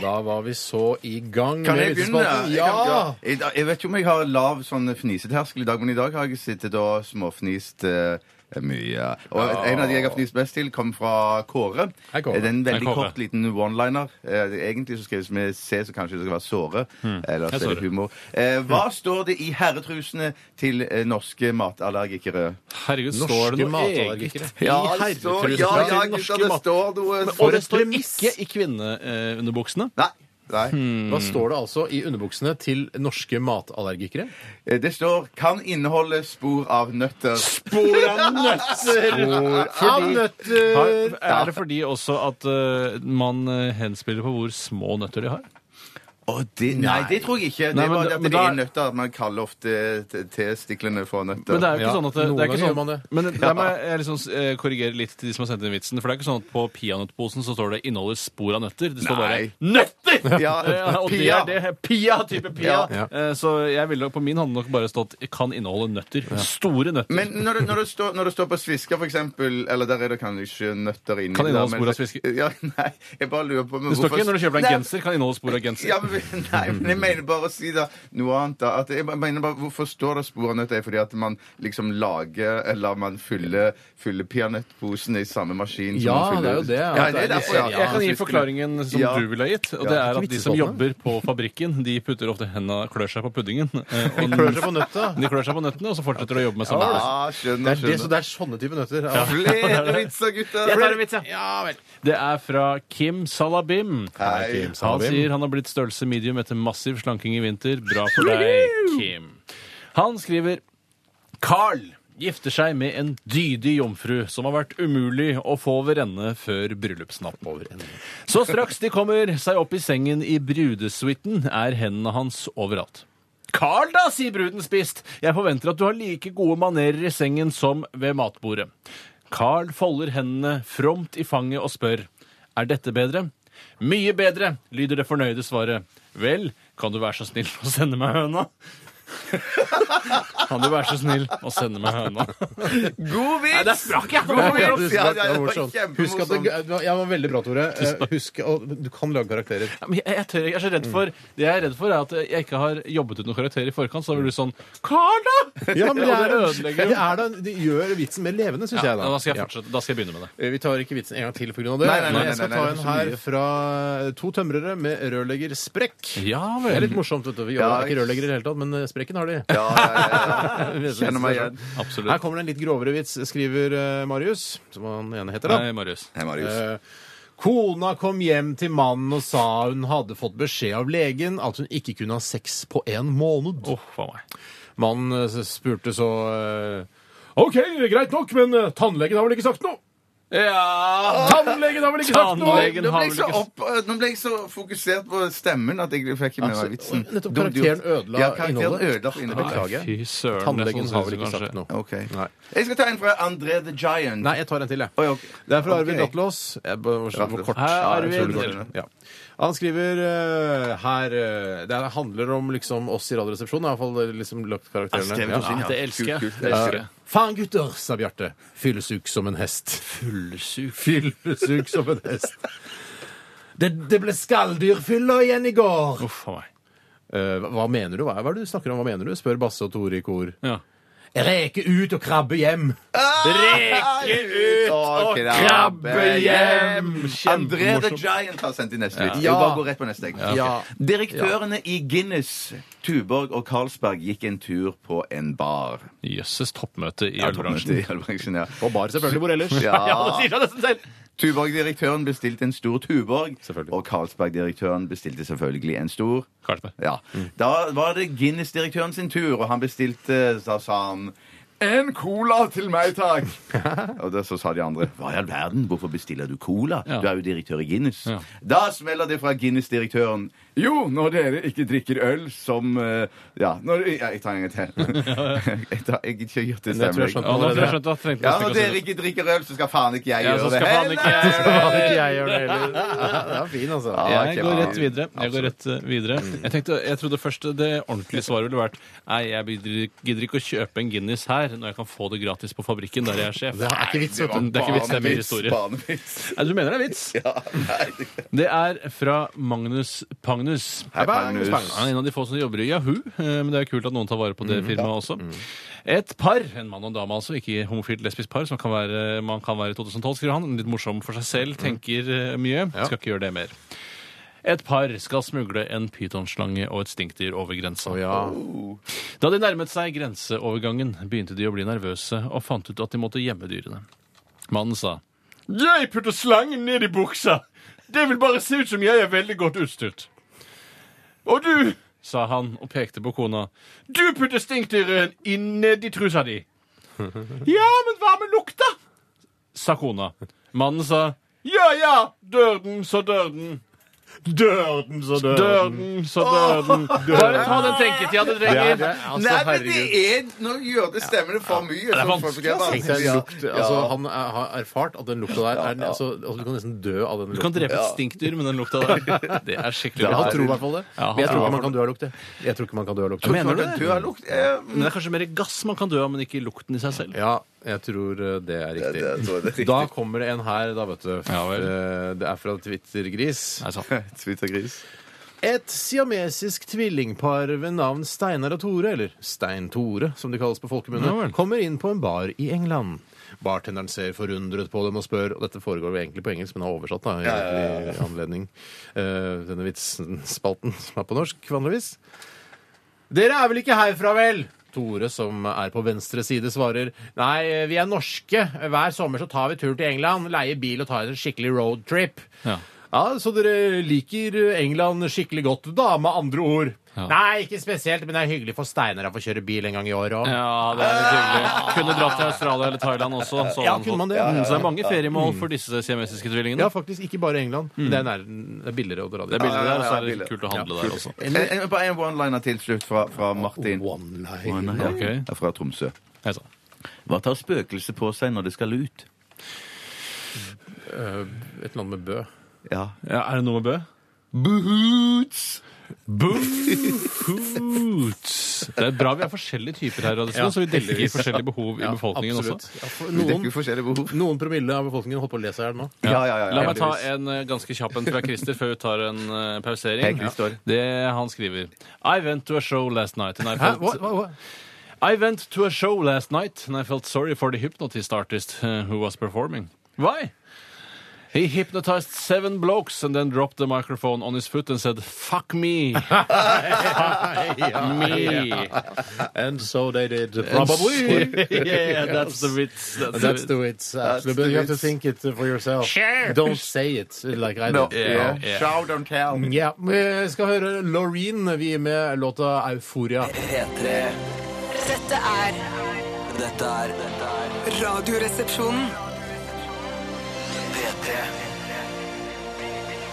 Da var vi så i gang Kan med jeg begynne? vitsespalten. Jeg kan- Ja! I dag- Jeg vet ikke om jeg har lav sånn fniseterskel i dag, men i dag har jeg sittet og småfnist eh, mye. Og en av de jeg har fnist best til, kom fra Kåre. Hei, Kåre. Det er en veldig Hei, Kåre. kort liten one-liner. Eh, det- Egentlig så skrives med C, så kanskje det skal være såre. Eller så Hmm. Jeg er det såre. humor. Eh, Hva står det i herretrusene til eh, norske matallergikere? Herregud, står det Norske noe eget? matallergikere. Ja, det står, ja, ja, til norske gutta, det mat- står noe Og det et står premiss! ikke i eh, Hmm. kvinneunderbuksene. Nei. Nei. Hva Mm. står det altså i underbuksene til norske matallergikere? Eh, Det står 'kan inneholde spor av nøtter'. Spor av nøtter! Av eh, nøtter! Er det fordi også at eh, man eh, henspiller på hvor små nøtter de har? Å, det, nei, det tror jeg ikke. Det Nei, er men bare da- det at men det da- er nøtter. Man kaller ofte te- testiklene for nøtter. Men det er jo ikke Ja, sånn at det, noen det er ikke ganger sånn, gjør man det. Men la meg eh, liksom, eh, korrigere litt til de som har sendt inn vitsen. For det er ikke sånn at på peanøttposen så står det 'inneholder spor av nøtter'. Det står Nei. bare 'nøtter'! Ja. Eh, og det Pia. er det. Pia, type Ja. Pia. Ja. Eh, Så jeg ville nok- på min hadde nok bare stått 'kan inneholde nøtter'. Store nøtter. Men når det, når, det står, når det står på svisker, for eksempel Eller der er det kanskje nøtter inni. Kan det da, inneholde men- spor av svisker? Ja, nei, jeg bare lurer på men det står hvorfor- ikke når du kjøper deg Nei, en genser, kan inneholde spor av genser. Ja, men, nei, men jeg mener bare å si da noe annet. da at jeg mener bare, Hvorfor står det spor av nøtter? Er det Fordi at man liksom lager Eller man fyller, fyller peanøttposen i samme maskin som Ja, man fyller det er jo det, at Ja, det det er sånn- er derfor, ja. Jeg kan gi Ja. forklaringen som Ja. du ville ha gitt. Og det Ja. er at de som vitsespalten, jobber på fabrikken, de putter ofte henda klør seg på puddingen. eh, Og Klør seg på nøtta. de klør seg på nøttene, og så fortsetter de å jobbe med samme prosessen. Ja, Det skjønner, er, det, så skjønner. det er sånne type nøtter. Ja. Flere vitser, gutter! Det er fra Kim Salabim. Hei. Kim Han sier han har blitt størrelse medium etter massiv slanking i vinter. Bra for deg, Kim. Han skriver Carl gifter seg med en dydig jomfru som har vært umulig å få over ende før bryllupsnatten. Så straks de kommer seg opp i sengen i brudesuiten, er hendene hans overalt. Carl, da, sier bruden spist. Jeg forventer at du har like gode manerer i sengen som ved matbordet. Carl folder hendene fromt i fanget og spør. Er dette bedre? Mye bedre, lyder det fornøyde svaret. Vel, kan du være så snill å sende meg høna? Kan du være så snill å sende meg høna? God vits! Nei, der sprakk jeg. God Tusen vits! Ja, takk, det var ja, det var morsomt. Husk at det, kjempemorsomt. ja, det var veldig bra, Tore. Eh, Husk, å- du kan lage karakterer. Ja, Men jeg, jeg, tør, ikke. jeg er så redd for Det jeg er redd for, er at jeg ikke har jobbet ut noen karakter i forkant. Så blir du sånn Carl, da! Ja, men det, Og det er, ødelegger jo. det, er da, det gjør vitsen mer levende, syns Ja, jeg. da. da skal jeg Ja. fortsette. Da skal jeg begynne med det. Eh, Vi tar ikke vitsen en gang til pga. det. Nei, nei, nei, men jeg skal nei, nei, ta det en er så her mye. fra to tømrere med rørleggersprekk. Ja Det er vel. litt morsomt. vet du. Vi Ja, jobber ikke ikke- rørleggere i det hele tatt, men eh, sprekken har de. Ja, ja, ja, ja. Kjenner meg igjen. Her Absolutt. kommer det en litt grovere vits, skriver eh, Marius, som han ene heter. da. Nei, Marius. Hei, Marius. Eh, Kona kom hjem til mannen og sa hun hadde fått beskjed av legen at hun ikke kunne ha sex på en måned. Åh, faen meg. Mannen eh, spurte så eh, OK, greit nok, men eh, tannlegen har vel ikke sagt noe? Ja Tannlegen har vel ikke sagt noe? Tannlegen Nå har ble, jeg vel så ikke opp, eh, nå ble jeg så fokusert på stemmen at jeg fikk ikke med meg vitsen. Altså, Nettopp Dumt karakteren gjort. ødela ja, karakteren innholdet. ødela for innholdet. Beklager. Fy søren. Tannlegen det er sånn har vel synes ikke jeg sagt kanskje. noe. Ok. Nei. Jeg skal ta en fra André the Giant. Nei, jeg tar en til, jeg. Oi, ok. Det er fra Arvid Ok. Rattlås. Jeg bare- hvor- hvor kort. Hei, Ja, Arvid. utrolig kort. Ja. Han skriver eh, her eh, Det handler om liksom oss i Radioresepsjonen. Jeg har i hvert fall liksom lagt Jeg skrev sånn karakterene. det på sin, Ja. ja. Det elsker jeg. Kult, kult. Det elsker jeg. Faen, gutter, sa Bjarte. Fyllesuk som en hest. Fyllesuk? Fyllesuk som en hest. Det, det ble skalldyrfylla igjen i går. Uff a meg. eh, hva- hva mener du? Hva er, hva er det du snakker om? Hva mener du? Spør Basse og Tore i kor. Ja. Reke ut og krabbe hjem! Reke ut og krabbe hjem! André the Giant har sendt inn neste lyd. Ja. Ja. Bare gå rett på neste. jeg. Ja. Direktørene i Guinness, Tuborg og Carlsberg gikk en tur på en bar. Jøsses toppmøte i Ja, toppmøte ølbransjen. i ølbransjen, ja. Og bar, selvfølgelig. Hvor ellers? Ja, det ja. sier seg nesten selv! Tuborg-direktøren bestilte en stor Tuborg, Selvfølgelig. og Carlsberg-direktøren bestilte selvfølgelig en stor Karlsberg. Ja. Da var det Guinness-direktøren sin tur, og han bestilte, da sa han en cola til meg, takk! Og da så sa de andre Hva i all verden, hvorfor bestiller du cola? Ja. Du er jo direktør i Guinness. Ja. Da smeller det fra Guinness-direktøren Jo, når dere ikke drikker øl som eh, Ja, når ja, Jeg tar en gang til. jeg tar- jeg gidder ikke å gjøre Jeg det tror jeg stemmer. skjønte Ja, nå hva tror jeg det er. skjønte at jeg trengte Ja, når å stikke dere oss ikke drikker øl, så skal faen ikke jeg Ja, så gjøre det skal faen ikke jeg heller! Ja, det er ikke jeg gjør det heller. Ja, det er fin, altså. Ja. Jeg ok, går ja. rett videre. Jeg, går rett eh, videre. jeg, tenkte, jeg trodde først det ordentlige svaret ville vært Nei, jeg gidder- gidder ikke å kjøpe en Guinness her når jeg kan få det gratis på fabrikken der jeg er sjef. Det er ikke vits, vet du. Det er ikke vits, det er mye historie. Barnevits. Nei, du mener det er vits? Nei. Det er fra Magnus Pagnus. Hei, Magnus. Han er en av de få som jobber i Yahoo, eh, men det er jo kult at noen tar vare på Mm. det firmaet også. Et par, en mann og en dame altså, ikke homofilt lesbisk par, som kan være, man kan være i 2012, skriver han. Litt morsom for Mm. seg selv, tenker eh, mye. Skal ikke gjøre det mer. Et par skal smugle en pytonslange og et stinkdyr over grensa. Oh. Å, ja. Da de nærmet seg grenseovergangen, begynte de å bli nervøse og fant ut at de måtte gjemme dyrene. Mannen sa Jeg putter slangen ned i buksa. Det vil bare se ut som jeg er veldig godt utstyrt. Og du, sa han og pekte på kona, du putter stinkdyret inn ned i trusa di. Ja, men hva med lukta? sa kona. Mannen sa ja ja, dør den, så dør den. Dør den, så dør den. Dør den, så dør den. Bare ta den tenketida du Det er trenger. det. Altså, Nei, men det herregud. er Nå gjør det stemmer det for mye. er sånn vanskelig, for- Tenk deg Ja. lukt. Altså, Ja. han er, har erfart at den lukta der er, altså, altså, Du kan nesten dø av den Du kan lukten. drepe et stinkdyr med den lukta der. Det er skikkelig Ja, bra. han tror i hvert fall det. Ja, han Men jeg tror tror ikke man kan dø av lukt. jeg. Jeg tror ikke man kan dø av lukt. mener du det? Du har lukt eh, Men det er kanskje mer gass man kan dø av, men ikke lukten i seg selv. Ja, jeg tror eh, det er det- det tror jeg det er riktig. riktig. Da kommer det en her, da, vet du. Ja vel. Eh, Det er fra Twittergris. Nei, sant. Twittergris. Et siamesisk tvillingpar ved navn Steinar og Tore, eller Stein-Tore som de kalles på folkemunne, Ja vel. kommer inn på en bar i England. Bartenderen ser forundret på dem og spør Og dette foregår jo egentlig på engelsk, men har oversatt da, i i anledning eh, denne vitsenspalten som er på norsk, vanligvis. Dere er vel ikke herfra, vel? Tore, som er på venstre side, svarer Nei, vi er norske. Hver sommer så tar vi tur til England, leier bil og tar en skikkelig roadtrip. Ja. Ja, Så dere liker England skikkelig godt, da, med andre ord? Nei, ikke spesielt, men det er hyggelig for Steinar å få kjøre bil en gang i året òg. Ja, det er litt hyggelig. Ah! Kunne dratt til Australia eller Thailand også. Så, hadde Ja, han kunne fått- man det? Ja, ja, Mm, så det er mange feriemål for disse siamesiske tvillingene. Ja, faktisk. Ikke bare England. men Det, er nær, det er billigere å dra Det dit. er bilder Ja, ja, der, og så ja, er det bilder. kult å handle der også. En, en, bare en one-liner til slutt fra, fra Martin. One-line. One-liner. Ok. Ja, Fra Tromsø. Hei sann. Hva tar spøkelset på seg når det skal ut? Et eller annet med Bø. Ja. Ja, er det noe med Bø? Boots! Boots. Det er bra vi er forskjellige typer her, i radioen, så vi dekker forskjellige behov i befolkningen også. Ja, for Vi dekker noen, jo forskjellige behov. noen promille av befolkningen holdt på å le seg i hjel nå. Ja, ja, ja, ja, La meg ta heldigvis. en eh, ganske kjapp en fra Christer før vi tar en eh, Hei, pausering. Christer. Det han skriver I went to a show last night and I Hæ? felt Hva, hva, hva? I went to a show last night and I felt sorry for the hypnotist artist uh, who was performing. Why? He hypnotized seven blokes and then dropped the microphone on his foot and said, fuck me, me. And so they did. Probably. yeah, that's the wits. That's, That's the the wits. Absolutely. the But you have to wits. think it for yourself. Sure. Don't say it like I No, did. yeah. Ja. Mm. Show, don't tell. Ja, Vi skal høre Laureen, vi, med låta 'Euforia'. P3 Dette er Dette er dette er Radioresepsjonen. P3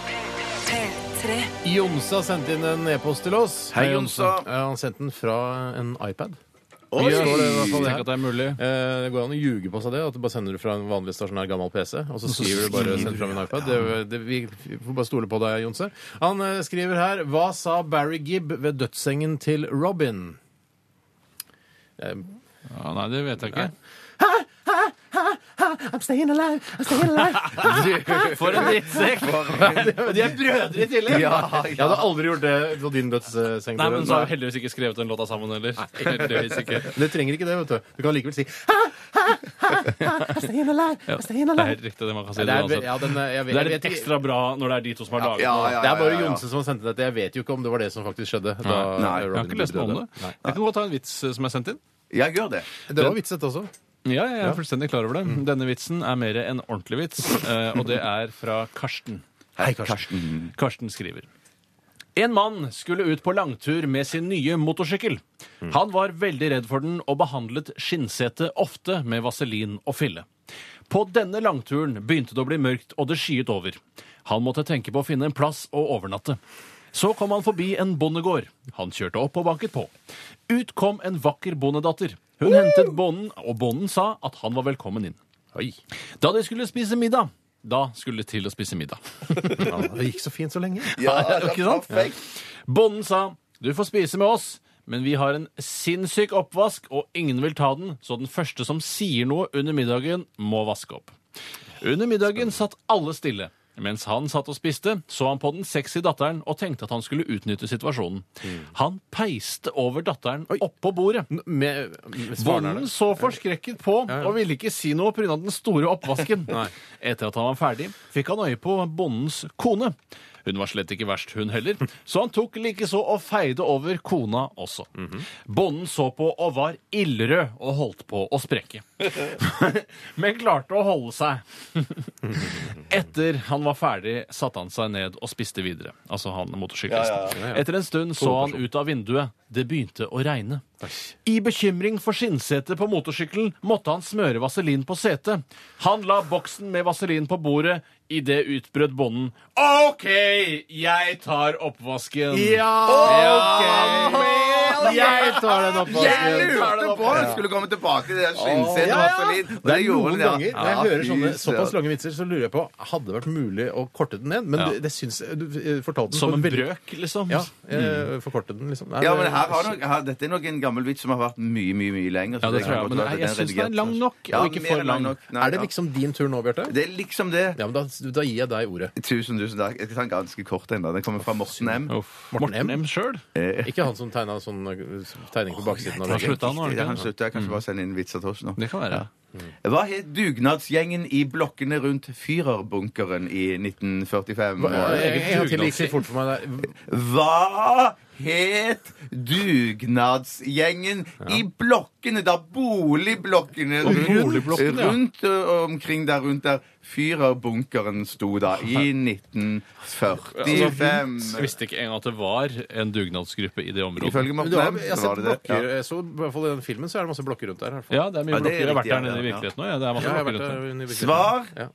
P3. Jonsa sendte inn en e-post til oss. Hei, Jonsa. Ja, Eh, han sendte den fra en iPad. Oi! Det står det i hvert fall Tenk her. at det er mulig. Eh, Det går an å ljuge på seg det, at du bare sender det fra en vanlig stasjonær gammel PC, og så skriver du bare skriver 'send fram en iPad'. Det, det, vi får bare stole på deg, Jonse. Han eh, skriver her 'Hva sa Barry Gibb ved dødssengen til Robin'? Ja, nei, det vet jeg ikke. I'm staying alive, I'm staying alive. For en drittsekk! Og de er brødre i tillegg! Ja, jeg hadde aldri gjort det på din dødsseng. Nei, men så Tore. har vi heldigvis ikke skrevet den låta sammen heller. Heldigvis ikke. Men Det trenger ikke det, vet du. Du kan likevel si ha, ha, ha, ha, I'm staying alive, Ja, I'm det staying er alive. helt riktig, det man kan si. Det Det, er, uansett. ja, den, er- jeg vet, det er jeg litt vet- ekstra bra når det er de to som har laget Ja, den. ja, Det er bare ja, ja. Jonse som har sendt dette. Jeg vet jo ikke om det var det som faktisk skjedde. Da Nei, jeg Jeg har ikke lest noe om det. Jeg kan godt ta en vits eh, som er sendt inn. Jeg gjør det. Det var vits, dette også. Ja, jeg er fullstendig klar over det. Mhm. Denne vitsen er mer en ordentlig vits, eh, og det er fra Karsten. Hei, Karsten. Karsten skriver. En mann skulle ut på langtur med sin nye motorsykkel. Mhm. Han var veldig redd for den og behandlet skinnsetet ofte med vaselin og fille. På denne langturen begynte det å bli mørkt, og det skyet over. Han måtte tenke på å finne en plass å overnatte. Så kom han forbi en bondegård. Han kjørte opp og banket på. Ut kom en vakker bondedatter. Hun hentet bonden, og bonden sa at han var velkommen inn. Da de skulle spise middag Da skulle de til å spise middag. Ja, det gikk så fint så lenge. Ja, det ikke sant? perfekt. Bonden sa du får spise med oss, men vi har en sinnssyk oppvask, og ingen vil ta den, så den første som sier noe under middagen, må vaske opp. Under middagen satt alle stille. Mens han satt og spiste, så han på den sexy datteren og tenkte at han skulle utnytte situasjonen. Han peiste over datteren oppå bordet. Hmm. N- Med, med svarene. Bonden så forskrekket på og ville ikke si noe pga. den store oppvasken. Etter at han var ferdig, fikk han øye på bondens kone. Hun var slett ikke verst, hun heller, så han tok likeså og feide over kona også. Bonden så på og var ildrød og holdt på å sprekke. Men klarte å holde seg. Etter han var ferdig, satte han seg ned og spiste videre. Altså han motorsyklisten. Etter en stund så han ut av vinduet. Det begynte å regne. I bekymring for skinnsetet på motorsykkelen måtte han smøre vaselin på setet. Han la boksen med vaselin på bordet. Idet utbrøt bonden. OK, jeg tar oppvasken. Ja! Ok. Jeg tar den Jeg oppvasken. lurte på om jeg skulle komme tilbake til det skinnsetet og Ja, ja. vaselin. Det og er det gjorde noen det, ja. ganger når jeg Ja, hører fy sånne søren. såpass lange vitser, så lurer jeg på hadde det vært mulig å korte den ned. Men Ja. du- det syns jeg- du eh, fortalte den Som på en veldig- brøk, liksom. Ja, eh, forkorte den, liksom. Nei, Ja, det- men her har nok, her, Dette er nok en gammel vits som har vært mye mye, mye lenger. så Ja, det kan tror jeg, godt men være at nei, jeg er synes den er redigert lang først. nok, og Ja, ikke mer for enn lang. nok. Nei, er det ja. liksom din tur nå, Bjarte? Det er liksom det. Ja, men da, da gir jeg deg ordet. Tusen, tusen takk. Jeg skal ta en ganske kort en. da. Den kommer fra Morten M. Uff. Morten M. Morten M. sjøl? Eh, Ikke han som tegna sånn eh, tegning på baksiden av Han veggen. slutta nå, har det er han han ikke? slutter. Jeg kan ikke bare sende inn vitser til oss nå. Det kan være. Hva het dugnadsgjengen i blokkene rundt Führerbunkeren i Eh, 1945? En gang til det gikk litt fort for meg der. Hva het dugnadsgjengen i blokkene, da boligblokkene rundt, boligblokkene, ja. rundt ø, omkring der rundt der Führerbunkeren sto da, i 1945. Altså, Jeg visste ikke engang at det var en dugnadsgruppe i det området. Ifølge Men Morten du har, Lem, jeg har så var sett det det. blokker, Ja. jeg så, i hvert fall i den filmen så er det masse blokker rundt der. i hvert fall. Ja, det er mye Ja, det er blokker. Jeg har vært riktig, der nede i ja, ja. virkeligheten òg. Ja. Det er masse Ja, jeg har blokker vært eh, rundt der under virkeligheten. Svar Ja.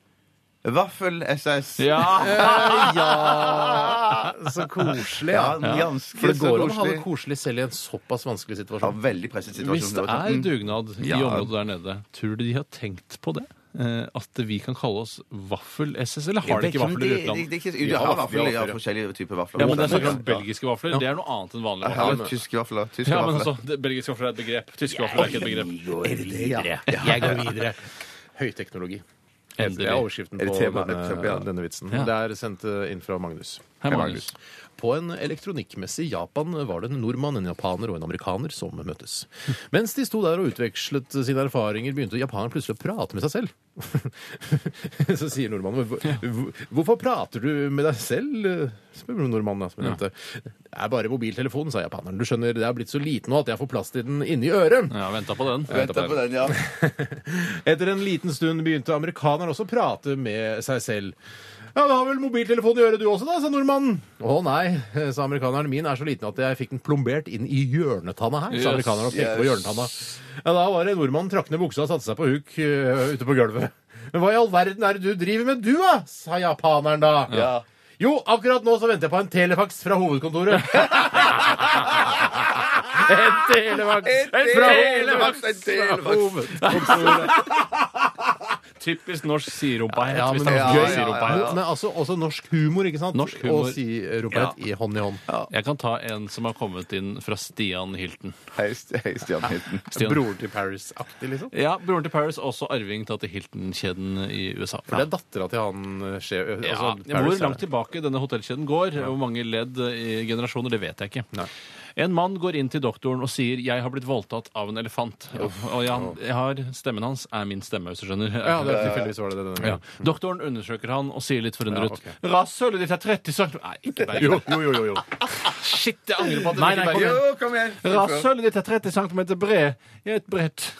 vaffel-SS. Ja. Ja, Ah, så koselig. Ja, Ja. ganske For det går an å så ha det koselig. koselig selv i en såpass vanskelig Ja, situasjon. veldig presset situasjon. Hvis det det var er sånn. dugnad i Ja. området der nede, tror du de har tenkt på det? Eh, at vi kan kalle oss vaffel-SS, eller har de ikke vafler i Det- det- utlandet? det er ikke- Ja, De har vafler, vafler, ja, ja. forskjellige typer vafler. Ja, men det er snakk om belgiske vafler. Det er noe annet enn vanlige Ja, vafler. tyske vafler. Tyske Ja, men vafler. altså, det- Belgiske vafler er et begrep. Tyske vafler er ikke et begrep. Jeg går videre. Høyteknologi. Det er Endelig. overskriften Er på det tema? denne, Ja. denne vitsen. Ja. Det er sendt eh, inn fra Magnus. Hei, Magnus. På en elektronikkmesse i Japan var det en nordmann, en japaner og en amerikaner som møttes. Mens de sto der og utvekslet sine erfaringer, begynte japaneren plutselig å prate med seg selv. Så sier nordmannen "Hvor- hvor- Hvorfor prater du med deg selv? spør nordmannen. da, som jeg nevnte. Det er bare mobiltelefonen, sa japaneren. Du skjønner, det er blitt så liten nå at jeg får plass til den inni øret. Ja, venta på den. Venter på den, ja. Etter en liten stund begynte amerikaneren også å prate med seg selv. Ja, Du har vel mobiltelefon i øret du også, da, sa nordmannen. Å nei, sa amerikaneren. Min er så liten at jeg fikk den plombert inn i hjørnetanna her. Yes, sa amerikaneren og pekte på yes. hjørnetanna. Ja, Da var det nordmannen trakk ned buksa og satte seg på huk øh, ute på gulvet. Men hva i all verden er det du driver med du, da? sa japaneren da. Ja. Jo, akkurat nå så venter jeg på en telefax fra hovedkontoret. en telefax! En fra telefax, en hovedkontoret. telefax. Hovedkontoret. typisk norsk siderumpehet. Ja, hvis men, det er ja, noe som ja, er ja, siderumpehet. men altså, også norsk humor, ikke sant? Norsk humor. Og siderumpehet i hånd i hånd. Jeg kan ta en som har kommet inn fra Stian Hilton. Hei, St- hei, Stian Hilton. Stian. Broren til Paris-aktig, liksom. Ja, Broren til Paris, også arving til til Hilton-kjeden i USA. For det er dattera til han eh, sjef Ja, altså, Hvor Paris er- langt tilbake denne hotellkjeden går, og hvor mange ledd i generasjoner, det vet jeg ikke. Nei. En mann går inn til doktoren og sier 'jeg har blitt voldtatt av en elefant'. Og jeg, jeg har, Stemmen hans er min stemme, hvis du skjønner. Ja, det er tilfeldigvis var det det denne Ja. gangen. Doktoren undersøker han og sier litt Ja, forundret ok. Rasshølet ditt er 30 cm Nei, ikke bare Jo, jo, jo, jo. Shit, jeg angrer på at det Kom ikke bare igjen. Jo, kom igjen. Rasshølet ditt er 30 cm bred. Jeg er et brett.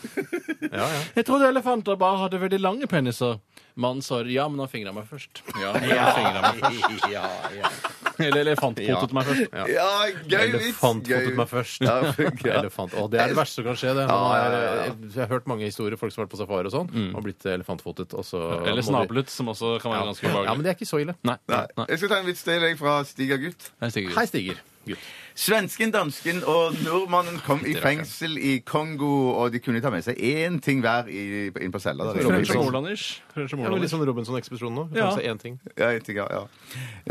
Ja, ja. Jeg trodde elefanter bare hadde veldig lange peniser. Mannen svarer ja, men han fingra meg først. Ja, men han fingret meg først. Eller elefantpotet meg først. Ja, gøy vits. gøy. Elefantfotet meg først. Ja, ja. Elefant. Å, det er det verste som kan skje. Det. Ja, Man ja, er, ja, ja. eh, Jeg har hørt mange historier, folk som har vært på safari og sånn, og blitt elefantfotet. Og så Mm. Eller snablet, som også kan være ganske Ja, men ubehagelig. det er ikke så ille. Nei. Nei. Nei. Jeg skal ta en vits til jeg fra Stiga gutt. Nei, Sigurd. Hei, Stiger. Gutt. Svensken, dansken og nordmannen kom i fengsel i Kongo, og de kunne ta med seg én ting hver i, inn på cella. da. Fredriksen Moland-ish. Det Fredriksen var Moland-ish. litt sånn Robinson-ekspedisjonen nå. Ja. Kanskje én ting. Ja, jeg tenker, ja.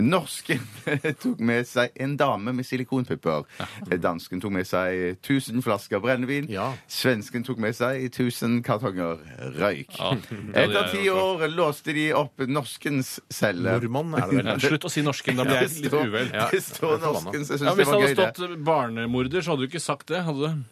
Norsken tok med seg en dame med silikonpupper. Eh, Dansken tok med seg 1000 flasker brennevin. Ja. Svensken tok med seg 1000 kartonger røyk. Ja, det hadde Etter jeg ti gjort. år låste de opp norskens celle. Nordmann er det vel. Ja, Slutt å si norsken, da blir Det jeg litt står, uvel. det står norskens. Jeg syns Ja, det hvis det var hadde gøy, det. stått barnemorder, så hadde du ikke sagt det. hadde du?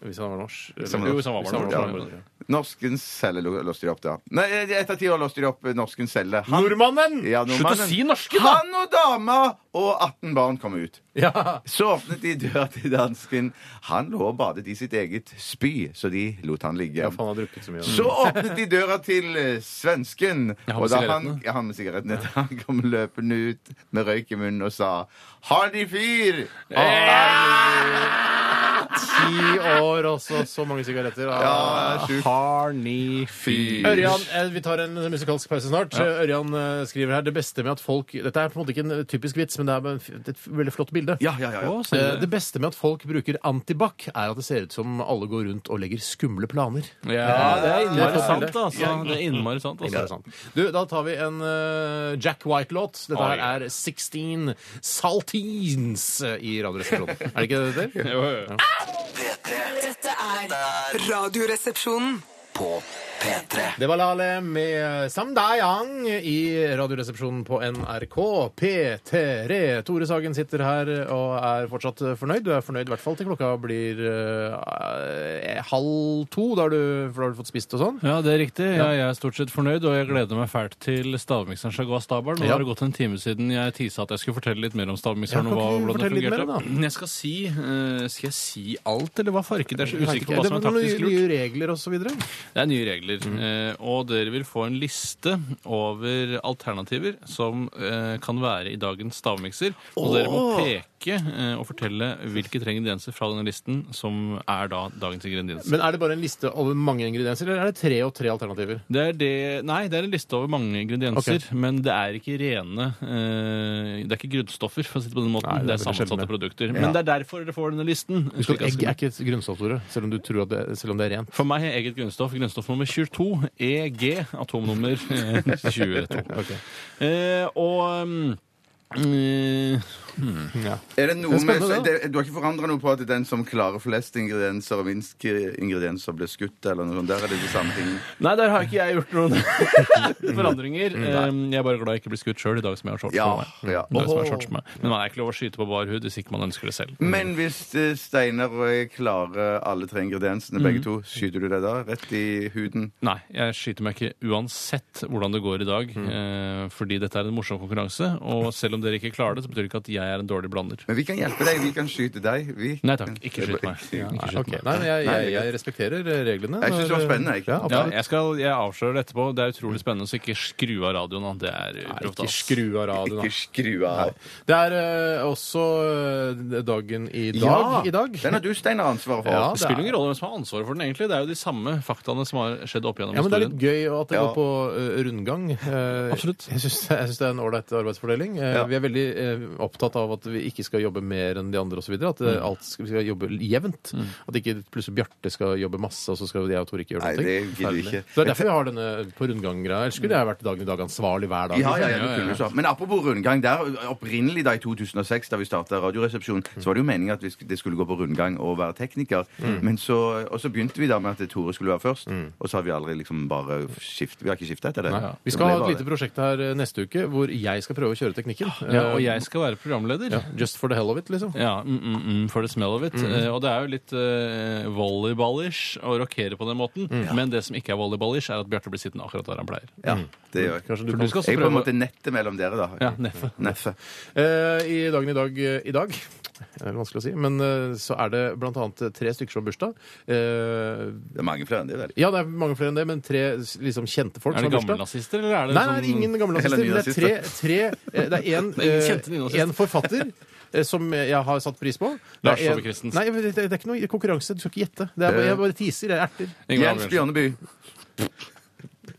Hvis han var norsk. Hvis han var Jo, hvis han var Hvis han var barnemorder. norsk. Norskens celle lo- låste de opp, da. Nei, etter ti år låste de opp norskens celle. Han- Nordmannen! Ja, Slutt å nordmannen. si norsken, da! Han og dama og 18 barn kom ut. Ja. Så åpnet de døra til dansken. Han lå og badet i sitt eget spy, så de lot han ligge. Ja, for han har drukket så mye. Så åpnet de døra til eh, svensken, Ja, og han med da han, sigarettene. ja, han med sigarettene Han kom løpende ut med røyk i munnen og sa 'Har de fyr?' Ti år også, så mange sigaretter. Ah. Ja, det er sjukt. Harni fyr. Ørjan, eh, Vi tar en musikalsk pause snart. Ørjan eh, skriver her det beste med at folk Dette er på en måte ikke en eh, typisk vits, men det er en f- et veldig flott bilde. Ja, ja, ja. ja. Å, Eh, sier Det du det? beste med at folk bruker antibac, er at det ser ut som alle går rundt og legger skumle planer. Ja, det er Det innmari er sant, sant, altså. Det er innmari sant, Det er altså. sant. Du, Da tar vi en eh, Jack White-låt. Dette Oi. her er 16 Saltines eh, i Radioresepsjonen. Er det ikke det det heter? Jo, jo, jo. Dette er Radioresepsjonen. På P3 Det var Lale med Samdayang i Radioresepsjonen på NRK P3. Tore Sagen sitter her og er fortsatt fornøyd. Du er fornøyd i hvert fall til klokka blir eh, halv to, da har du, for da har du fått spist og sånn. Ja, det er riktig. Jeg, jeg er stort sett fornøyd, og jeg gleder meg fælt til stavmikseren skal gå av stabelen. Nå Ja. har det gått en time siden jeg tisa at jeg skulle fortelle litt mer om Ja, stavmikseren. kan og hva, ikke du hvordan det fortelle litt fungerte. mer om jeg skal si eh, Skal jeg si alt, eller hva farken? Jeg er så Det usikker på hva er som er noen nye, taktisk lurt. nye Mm. regler og så videre. Det er nye regler, eh, og dere vil få en liste over alternativer som eh, kan være i dagens stavmikser. Og dere må peke eh, og fortelle hvilke tre ingredienser fra denne listen som er da dagens ingredienser. Men er det bare en liste over mange ingredienser, eller er det tre og tre alternativer? Det er det, nei, det er en liste over mange ingredienser, men det er ikke rene eh, Det er ikke grunnstoffer, for å si det på den måten. Nei, det er det er, veldig sammensatte sjelden. produkter. Men det er derfor dere får denne listen. Husk at Slik at- egg er ikke et grunnstoff, Tore, selv om, du tror at det, selv om det er rent. For meg er eget grunnstoff grunnstoff nummer 22, EG, atomnummer eh, 22. Eh, og um, eh, Er det noe Det med, er spennende, det, du har ikke forandra noe på at den som klarer flest ingredienser og minst k- ingredienser, blir skutt, eller noe sånt? Der er det de samme tingene. Nei, der har ikke jeg gjort noen Mm, forandringer. Eh, jeg er bare glad jeg ikke blir skutt sjøl i dag som jeg har shorts Ja, på meg. ja. I dag som jeg har shorts på meg. Men man er ikke lov å skyte på bar hud hvis ikke man ønsker det selv. Men hvis eh, Steinar og jeg klarer alle tre ingrediensene, Mm. begge to, skyter du deg da rett i huden? Nei, jeg skyter meg ikke uansett hvordan det går i dag. Eh, fordi dette er en morsom konkurranse, og selv om dere ikke klarer det, så betyr det ikke at jeg er en dårlig blander. Men vi kan hjelpe deg. Vi kan skyte deg. Vi. Nei takk, ikke skyt meg. Ikke skyt Ok, meg. Nei, men jeg, jeg, jeg respekterer eh, reglene. Jeg synes det var spennende, jeg. Ja, Ja, absolutt. jeg, skal, jeg avslører det etterpå. Det er utrolig spennende, så ikke skru av radioen. da. Det er uproft. Ikke ass. skru av radioen. Ikke da. skru av. Det er eh, også eh, dagen i dag. I dag. Den har du, Steinar, ansvaret for. Ja. Det spiller ingen rolle hvem som har ansvaret for den, egentlig. Det er jo de samme faktaene som har skjedd opp gjennom Ja, men Det er historien. litt gøy at det Ja. går på eh, rundgang. Eh, Absolutt. Jeg syns jeg syns det er en ålreit arbeidsfordeling. Eh, Ja. vi er veldig eh, opptatt av at vi ikke skal jobbe mer enn de andre osv. At Mm. eh, alt skal, vi skal jobbe jevnt. At ikke plutselig Bjarte skal jobbe masse, og så skal jeg og Tore ikke gjøre Nei, noe. det gidder vi ikke. Det er derfor vi har denne på rundgang-greia. Ellers skulle jeg vært dagen i dag ansvarlig hver dag. Ja, ja, ja, liksom. det kunne du sagt. Men apropos rundgang. der, Opprinnelig da i 2006, da vi starta Radioresepsjonen, Mm. så var det jo meningen at vi sk- det skulle gå på rundgang og være tekniker. Mm. Men så, og så begynte vi da med at Tore skulle være først, og så har vi aldri liksom bare skiftet. Vi har ikke skifta etter det. Nei, Det Vi skal ble ha et bare lite prosjekt her eh, neste uke hvor jeg skal prøve å kjøre teknikken. Ja, og Eh, jeg skal være programleder. ja, Just for the hell of it, liksom. Ja, mm, mm, mm, for the smell of it. Eh, og det er jo litt eh, volleyballers å rokere på den måten. Mm. Men det som ikke er volleyballers, er at Bjarte blir sittende akkurat der han pleier. Ja, det gjør jeg. Mm. Kanskje du kan- For du skal også Jeg er på en prøve måte nettet mellom dere, da. Ja, neffe. Neffe. Eh, I dagen i dag eh, i dag det er vanskelig å si, men eh, så er det blant annet tre stykker som har bursdag. Eh, Det er mange flere enn det, vel. ja, det er mange flere enn det, men tre liksom, kjente folk Er det som har bursdag. gammelnazister, eller er det Nei, sånn nei, det er ingen gamle nazister. Eller men Det er tre, tre eh, Det er en, Det er ingen kjente eh, nynazister. en forfatter eh, som jeg har satt pris på. Det er Lars Saabye en- Christensen. Nei, men det det er ikke noe konkurranse. Du skal ikke gjette. Det er, bare- jeg bare teaser. Det er erter. Ingvar Jens Ambjørnsen. Bjørneby.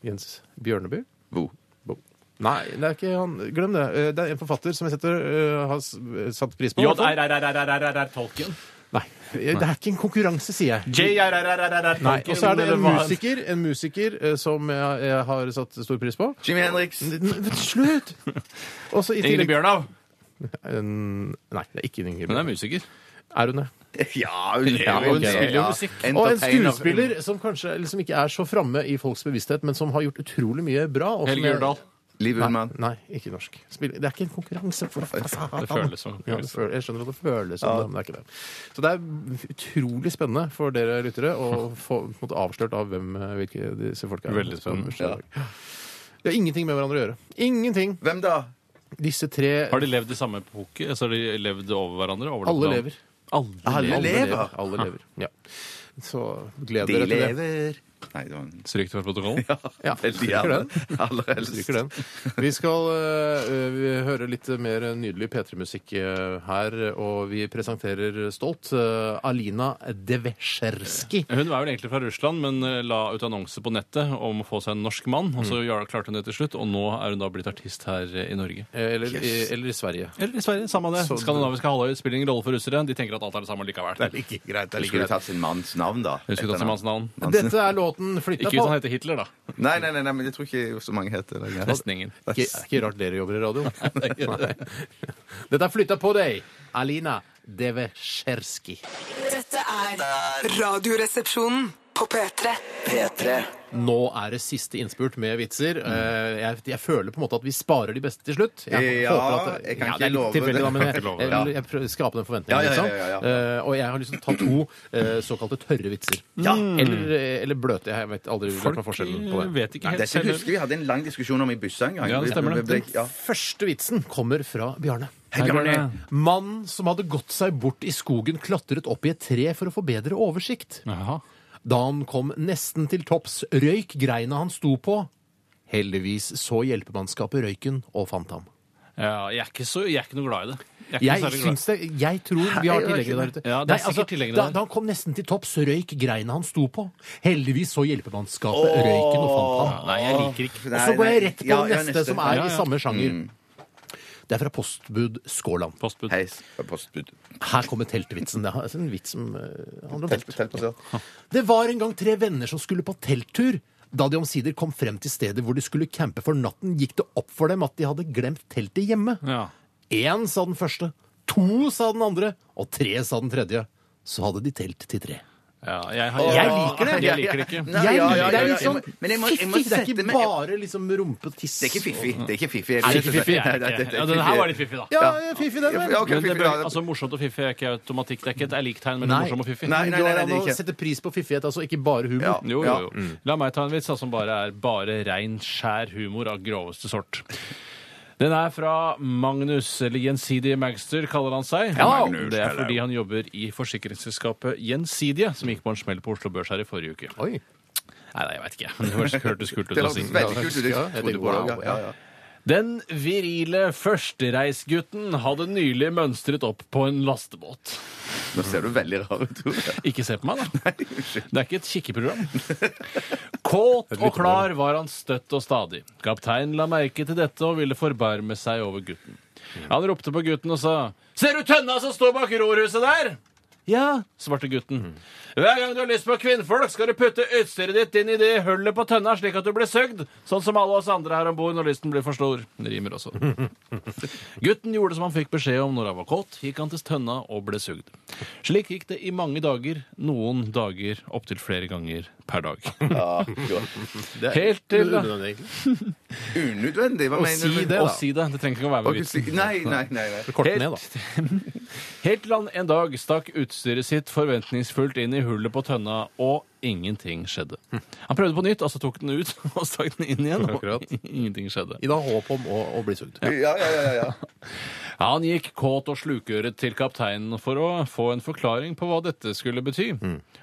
Jens Bjørneby. Bo. Nei, det er ikke han. Glem det. Eh, Det er en forfatter som jeg setter, eh, har s- satt pris på. i hvert fall. J.R.R.R.R.R. Tolkien. Nei, Eh, det er ikke en konkurranse, sier jeg. J.R.R.R.R. Nei, Og så er det en musiker, en musiker eh, som jeg, jeg har satt stor pris på. Jimmy Henriks. N- n- Slutt! Og så i Ingrid tillegg Bjørnov. En- Nei, det er ikke Ingrid Hun er Bjørn. musiker. Er hun det? Ja, hun Ja, er jo ok, en- spiller jo ja, musikk. Og en entertainer. skuespiller som kanskje liksom ikke er så framme i folks bevissthet, men som har gjort utrolig mye bra. og som Helge jeg- Urdal. Liv Nei, Ullmann. nei, ikke norsk. Spill, det er ikke en konkurranse. For det føles som en konkurranse. Ja, det føl- jeg skjønner at det føles som det, men det er ikke det. Så det er utrolig spennende for dere lyttere å få på en måte, avslørt av hvem eh, hvilke disse folka er. Mm, Veldig spennende. Ja. Det har ingenting med hverandre å gjøre. Ingenting! Hvem da? Disse tre Har de levd i samme epoke? Altså, har de levd over hverandre? Overlappet Alle hverandre? lever. Alle Alle lever. lever. Alle lever. Ja. Så gled De dere til det. lever. Nei, det var en Stryk det fra protokollen. Ja, Veldig stryker gjerne. den. Aller helst. Stryker den. Vi skal øh, vi høre litt mer nydelig P3-musikk øh, her, og vi presenterer stolt øh, Alina Devesjerski. Hun var vel egentlig fra Russland, men eh, la ut annonse på nettet om å få seg en norsk mann. Og så Mm. gjør- klarte hun det til slutt, og nå er hun da blitt artist her eh, i Norge. Eller, i- eller i Sverige. Eller i Sverige. Samme det. Skandinaviske halvøy spiller ingen rolle for russere. De tenker at alt er det samme likevel. like greit. Du skulle tatt sin manns navn, da. Husker du hans navn? Dette er låten 'Flytta Ikke på'. hvis han heter Hitler, da. Nei, nei, nei, nei, men jeg tror ikke så mange heter det. Nesten ingen. Ikke, ikke rart dere jobber i radio. Nei. Dette er 'Flytta på deg', Alina Devesjerski. Dette er Radioresepsjonen på P3. P3 Nå er det siste innspurt med vitser. Mm. Eh, Jeg, jeg føler på en måte at vi sparer de beste til slutt. Jeg Ja, jeg kan det er ikke litt love tilfeldig, det. da, men jeg, Jeg kan ikke love det. jeg, jeg prøver å skape den forventningen. Ja, ja, ja, liksom. ja, Eh, og jeg har lyst til å ta to eh, såkalte tørre vitser. Mm. Mm. Eller, eh, eller bløte. Jeg vet aldri lært meg forskjellen på Jeg det. vet ikke helt Dette selv. husker vi hadde en lang diskusjon om i busset en gang. Ja, det stemmer det. Vi ble- ja. Første vitsen kommer fra Bjarne. Hei, Bjarne. Mannen som hadde gått seg bort i skogen, klatret opp i et tre for å få bedre oversikt. Jaha. Da han kom nesten til topps, røyk greina han sto på. Heldigvis så hjelpemannskapet røyken og fant ham. Ja, jeg, er ikke så, jeg er ikke noe glad i det. Jeg er ikke Jeg noe særlig glad. syns det Jeg tror vi har tillegget der ute. Ja, Nei, det er altså, sikkert tillegget da, der. da han kom nesten til topps, røyk greina han sto på. Heldigvis så hjelpemannskapet røyken og fant ham. Nei, jeg liker ikke Og Nei, så går jeg nei. rett på Ja, Mm. den ja, neste, som er i Ja, ja. samme sjanger. Det er fra postbud Skåland. postbud. Hei, postbud. Her kommer teltvitsen. Det er en vits som eh, handler om telt. Teltbasert. Det var en gang tre venner som skulle på telttur. Da de omsider kom frem til stedet hvor de skulle campe for natten, gikk det opp for dem at de hadde glemt teltet hjemme. Ja. Én sa den første, to sa den andre, og tre sa den tredje. Så hadde de telt til tre. Ja, jeg, har- Jeg liker det. Jeg liker det ikke. Nei, Jeg, ja, ja, ja, det er ja. litt sånn Men jeg må- jeg må fiffig. Det er sette ikke meg- bare liksom rumpetiss. Det er ikke fiffig. Det er ikke fiffig. Er det ikke fiffig? Nei, Jeg det er- er det er ikke. Ja, den her var litt fiffig, da. Ja, ja, fiffig den, vel. Ja, ok, Men det fiffig, bør, da. altså, morsomt og fiffig er ikke automatikk. Det er ikke et er liktegn mellom Nei. morsom og fiffig. Nei, nei, det nei, går nei, det an er å ikke. sette pris på fiffighet, altså ikke bare humor. Ja. Jo, jo, jo. La meg ta en vits da, som bare er bare rein, skjær humor av groveste sort. Den er fra Magnus, eller Gjensidige Magster, kaller han seg. Magnus, det er hello. fordi han jobber i forsikringsselskapet Gjensidige, som gikk på en smell på Oslo Børs her i forrige uke. Oi. Nei, nei, jeg vet ikke. Men det høres- hørtes kult ut Det å var si. veldig kult. ut. Jeg Ja, jeg tenker, trodde på det. wow, Ja, ja, ja. Den virile førstereisgutten hadde nylig mønstret opp på en lastebåt. Nå ser du veldig rar ut, Tore. Ikke se på meg, da. Det er ikke et kikkeprogram. Kåt og klar var han støtt og stadig. Kapteinen la merke til dette og ville forbarme seg over gutten. Han ropte på gutten og sa Ser du tønna som står bak rorhuset der? Ja, svarte gutten. Hver gang du har lyst på kvinnfolk, skal du putte utstyret ditt inn i det hullet på tønna, slik at du blir søgd, sånn som alle oss andre her om bord når lysten blir for stor. Det rimer også. Gutten gjorde som han fikk beskjed om når han var kåt, gikk han til tønna og ble sugd. Slik gikk det i mange dager, noen dager opptil flere ganger per dag. Det Helt til- unødvendig, egentlig. Unødvendig? Hva Å mener si du? det, Å da. si det. Det trenger ikke å være Å, med vitsen. si- Nei, nei, nei. nei. Kort ned, da. Helt til han en dag stakk utstyret sitt forventningsfullt inn i hullet på tønna, og ingenting skjedde. Han prøvde på nytt, altså tok den ut og stakk den inn igjen, og Akkurat. ingenting skjedde. I dag håp om å, å bli sugd. Ja, ja, ja, ja. Han gikk kåt og slukøret til kapteinen for å få en forklaring på hva dette skulle bety.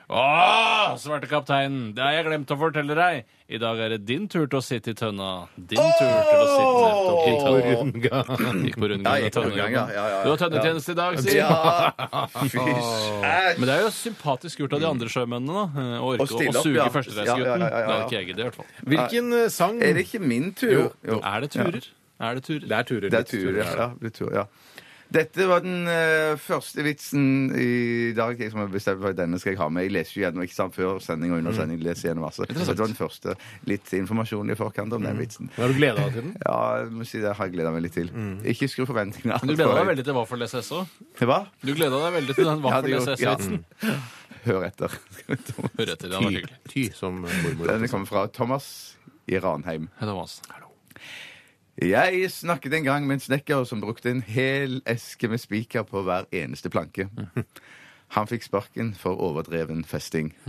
Åh, svarte kapteinen, det har jeg glemt å fortelle deg. I dag er det din tur til å sitte i tønna. Din tur til å sitte nettopp i På tønna. rundgang. Gikk Ja, jeg gikk på på rundgang med rundgang, ja, tønnejobben. ja, ja, ja. Du har tønnetjeneste i dag, sier ja. Fy æsj. Men det er jo sympatisk gjort av de andre sjømennene da, å orke Å stille å, opp, suge ja. førstereisgutten. Ja, ja, ja, ja, ja. Det hadde ikke jeg giddet, i hvert fall. Hvilken eh, sang Er det ikke min tur? Jo. Er det turer? Er det turer? Det er turer. Det er tur, ja. ja, det er tur, ja. Dette var den eh, første vitsen i dag. Jeg som har bestemt for at denne skal jeg ha med. Jeg leser jo gjennom ikke sant, før sending Mm. og under sending. leser jeg gjennom masse. Dette var den første. Litt informasjon i forkant om Mm. den vitsen. Har du gleda deg til den? Ja, jeg må si det har jeg gleda meg litt til. Ikke skru forventningene Mm. Men Du gleda deg veldig til hva for LSS òg. Hva? Du gleda deg veldig til den Ja, hva for det gjorde- ja. LSS-vitsen. Hør etter. Skal vi ta- Hør etter, det var hyggelig. Ty, som mormor. Den kommer fra Thomas i Ranheim. Hei, Thomas. Jeg snakket en gang med en snekker som brukte en hel eske med spiker på hver eneste planke. Han fikk sparken for overdreven festing. Eh,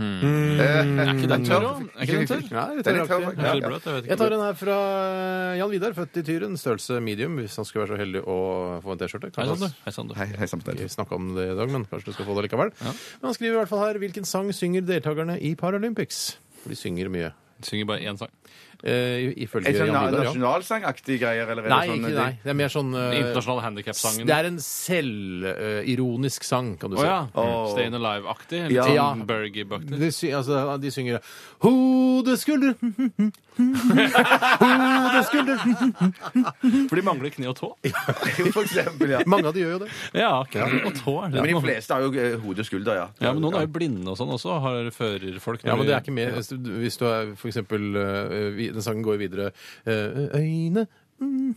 Er ikke den tørr, da? Er ikke den tørr? Ja, det Den er er tørr, tørraktig. ja. Eller bløt, jeg vet Jeg tar ikke. en her fra eh, Jan Vidar, født i Tyren. Størrelse medium, hvis han skulle være så heldig å få en T-skjorte. Hei Kan han- sann, sånn, du. Hei sann, du. Hei, hei samt Vi snakka om det i dag, men kanskje du skal få det likevel. Men han skriver i hvert fall her hvilken sang synger deltakerne i Paralympics. For de synger mye. Synger bare én sang. Eh, ifølge Er det Jan sånn Vidar, ja. nasjonalsangaktige greier? Eller er det Nei, sånn, ikke nei. Det er mer sånn Den eh, internasjonale s- handikapsangen. Det er en selvironisk sang, kan du Å si. ja. Åh. Stayin' Alive-aktig. Ja. Litt Ja. sånn Bergie-baktig. De, sy altså, de synger Hode, skulder Hode, skulder For de mangler kne og tå. Jo, For eksempel, ja. Mange av de gjør jo det. Ja, kne og tå er det. Men de man- fleste har jo eh, hode og skulder, ja. Ja, men noen er jo blinde og sånn også, har førerfolk. Ja, men det er ikke mer hvis du, hvis du er for eksempel øh, vi- Den sangen går videre øh, Øyne mhm,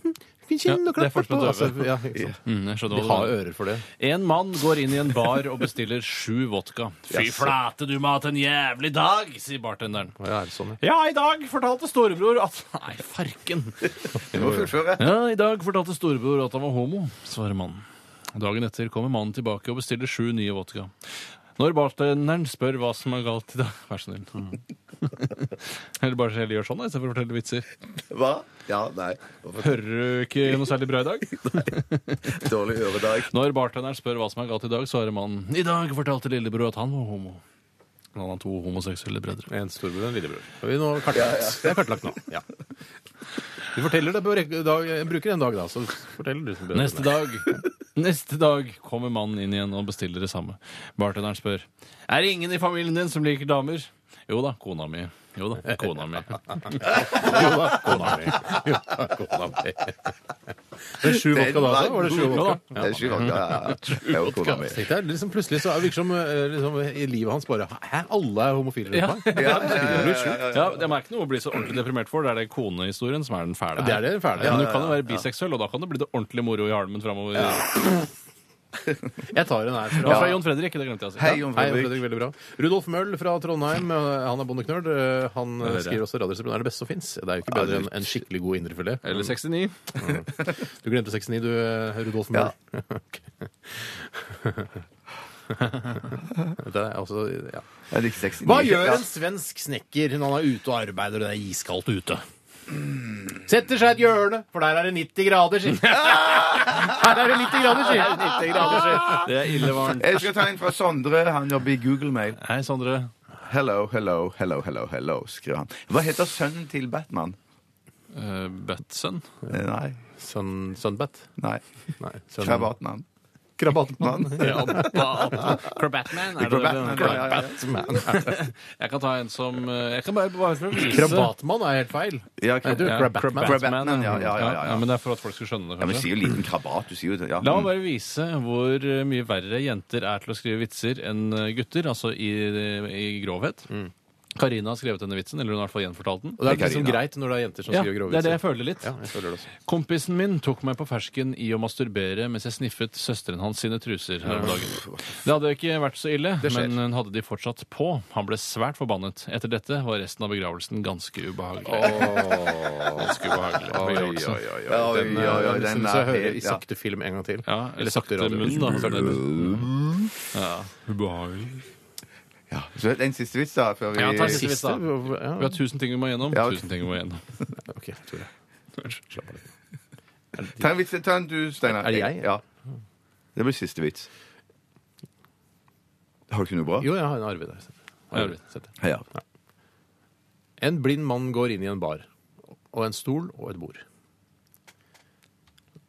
Kinn Ja, og det klapper er folk på som er altså, døve. ja, ikke sant? Mm, jeg skjønner De hva du har mener. ører for det. En mann går inn i en bar og bestiller sju vodka. Fy flate, du må ha hatt en jævlig dag, sier bartenderen. Å, ja, er det sånn, ja? Ja, i dag fortalte storebror at Nei, farken. Du må fullføre. Ja, i dag fortalte storebror at han var homo, svarer mannen. Dagen etter kommer mannen tilbake og bestiller sju nye vodka. Når bartenderen spør hva som er galt i dag Vær så snill. Eller bare heller gjør sånn da, istedenfor å fortelle vitser. Hva? Ja, nei. Hører du ikke noe særlig bra i dag? Dårlig øredag. Når bartenderen spør hva som er galt i dag, svarer mannen I dag fortalte lillebror at han var homo. Han har to homoseksuelle brødre. En storbror og en lillebror. Har vi nå kartlagt? Det er kartlagt nå. Ja. Du forteller det på rekke- dag, jeg bruker en dag, da. Så forteller du som bøter. Neste dag Neste dag kommer mannen inn igjen og bestiller det samme. Bartenderen spør Er det ingen i familien din som liker damer. Jo da, kona mi. Jo da, kona mi. Jo da, kona mi. Jo da, kona mi. Det er sju vodka da, altså? Var det sju vodka? Det er sju vodka, ja, ja. Det er jo kona mi. Tenk deg, liksom plutselig så er det virker som eh, liksom, i livet hans bare Hæ, alle er homofile Ja. rundt meg? Ja, eh, ja, ja, ja, ja, ja. Ja, Det er ikke noe å bli så ordentlig deprimert for. Det er det konehistorien som er den fæle. her. Det er det fæle. Men du kan jo være biseksuell, og da kan det bli det ordentlig moro i halmen framover. Jeg tar en her. Det Fra, var fra Jon Fredrik, det glemte jeg å si. Hei, Jon Hei, Fredrik. Fredrik, veldig bra. Rudolf Møll fra Trondheim, eh, han er bondeknøl. Eh, Han eh, skriver også Radioresepsjonen er det beste som fins. Det er jo ikke bedre enn en skikkelig god indrefilet. Eller 69. Du glemte 69, du, eh, Rudolf Møll. Ok. det er altså, ja. Jeg liker sexy. Hva gjør en svensk snekker når han er ute og arbeider og det er iskaldt ute? Setter seg i et hjørne, for der er det 90 grader, sier Her er det 90 grader, sier 90 grader, sier Det er ille varmt. Jeg skal ta en fra Sondre. Han jobber i Google Mail. Hei, Sondre. Hello, hello, hello, hello, hello, skriver han. Hva heter sønnen til Batman? Uh, Batson. Eh, Nei. Sun, sunbat? Nei. Nei. Sun, Hva er Batman? Krabatmann. Ja, ba- Krabatman, er det Krabatman, det? ja, ja, ja. Jeg kan ta en som eh, Jeg kan bare, bare for å vise Krabatmann er helt feil. Ja, Nei, du, ja, Krabatman. Krabatman, ja, ja, ja, ja. Men det er for at folk skal skjønne det, Ja, men kanskje. sier jo liten krabat. Du sier jo det. Ja. La meg bare vise hvor eh, mye verre jenter er til å skrive vitser enn eh, gutter, altså i, i grovhet. Mm. Karina har skrevet denne vitsen, eller hun har i hvert fall gjenfortalt den. Og det er liksom Karina. greit når det er jenter som Ja, skriver grove det er det jeg føler litt. Ja, jeg føler det også. Kompisen min tok meg på fersken i å masturbere mens jeg sniffet søsteren hans sine truser her om dagen. Det hadde ikke vært så ille, skjer. men hun hadde de fortsatt på. Han ble svært forbannet. Etter dette var resten av begravelsen ganske ubehagelig. Ganske ubehagelig Ja, begravelse. oi, oi, oi, Jeg den eh, synes er jeg hører i helt- ja. sakte film en gang til. Ja, eller sakte radio. munn, da. som det heter. Ja, ubehagelig. Ja. Så en siste vits, da, før vi Ja, ta en siste vits. Siste? Ja, Vi har tusen ting vi må gjennom. Ja, ok. Tusen ting vi må gjennom. ok, Tore. Slapp av litt. Ta en vits. Ta en du, Steinar. Er det jeg? Ja. Det blir siste vits. Har du ikke noe bra? Jo, jeg har en Arvid der. Arvid, Arvid. sett det. Ja. En blind mann går inn i en bar. Og en stol og et bord.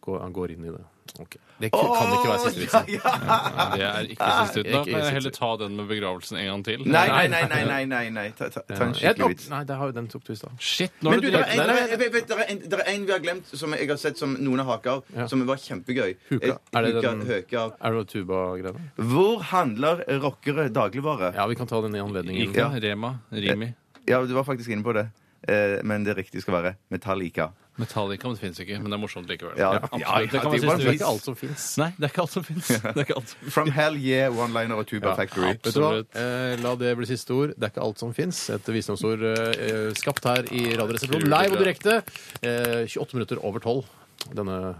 Går, han går inn i det. Ok. Det kan ikke være siste vitsen. Det er ikke siste ut. Da Ikke kan jeg siste heller ut. ta den med begravelsen en gang til. Nei, nei, nei, nei, nei, nei, nei. Ta, ta, ta en Jeg- skikkelig vits. Nei, det har, den tok du i stad. Shit, nå Men er du, det det er direkte. en, nei, nei, vent, vent, det er en, det er en vi har glemt, som jeg har sett som noen har haka av, som var kjempegøy. Huka. Eh, Er det Huka, den- høka av. Er det tuba-greiene? Hvor handler rockere dagligvare? Ja. Ja, vi kan ta den i anledning. Rika, Rema, Rimi. du var faktisk inne på det. Eh, men det riktige skal være Metallica. Metallica men det fins ikke, men det er morsomt likevel. Ja. absolutt. Ja, ja, det kan det man er jo bare synes en det Altså, Det er ikke alt som fins. Nei, det er ikke alt som fins. Det er ikke alt som From Hell Yeah, One-Liner og Tuba Factory. Vet du hva? Eh, la det bli siste ord. Det er ikke alt som fins. Et visdomsord eh, skapt her i Radioresepsjonen live og direkte. Eh, 28 minutter over 12 denne,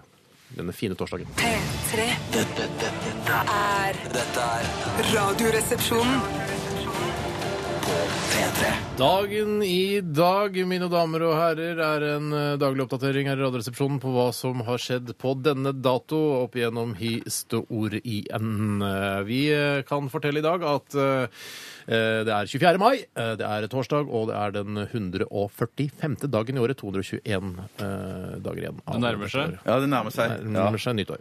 denne fine torsdagen. P3 Dette, dette, dette, er dette er Radioresepsjonen. P3. Dagen i dag, mine damer og herrer, er en eh, daglig oppdatering her i Radioresepsjonen på hva som har skjedd på denne dato opp igjennom historien. Eh, Vi eh, kan fortelle i dag at eh, eh, det er 24. mai, eh, det er torsdag, og det er den 145. dagen i året. 221 eh, dager igjen. av Det nærmer seg. dette året. Ja, det nærmer seg. Det Ja. nærmer seg nyttår.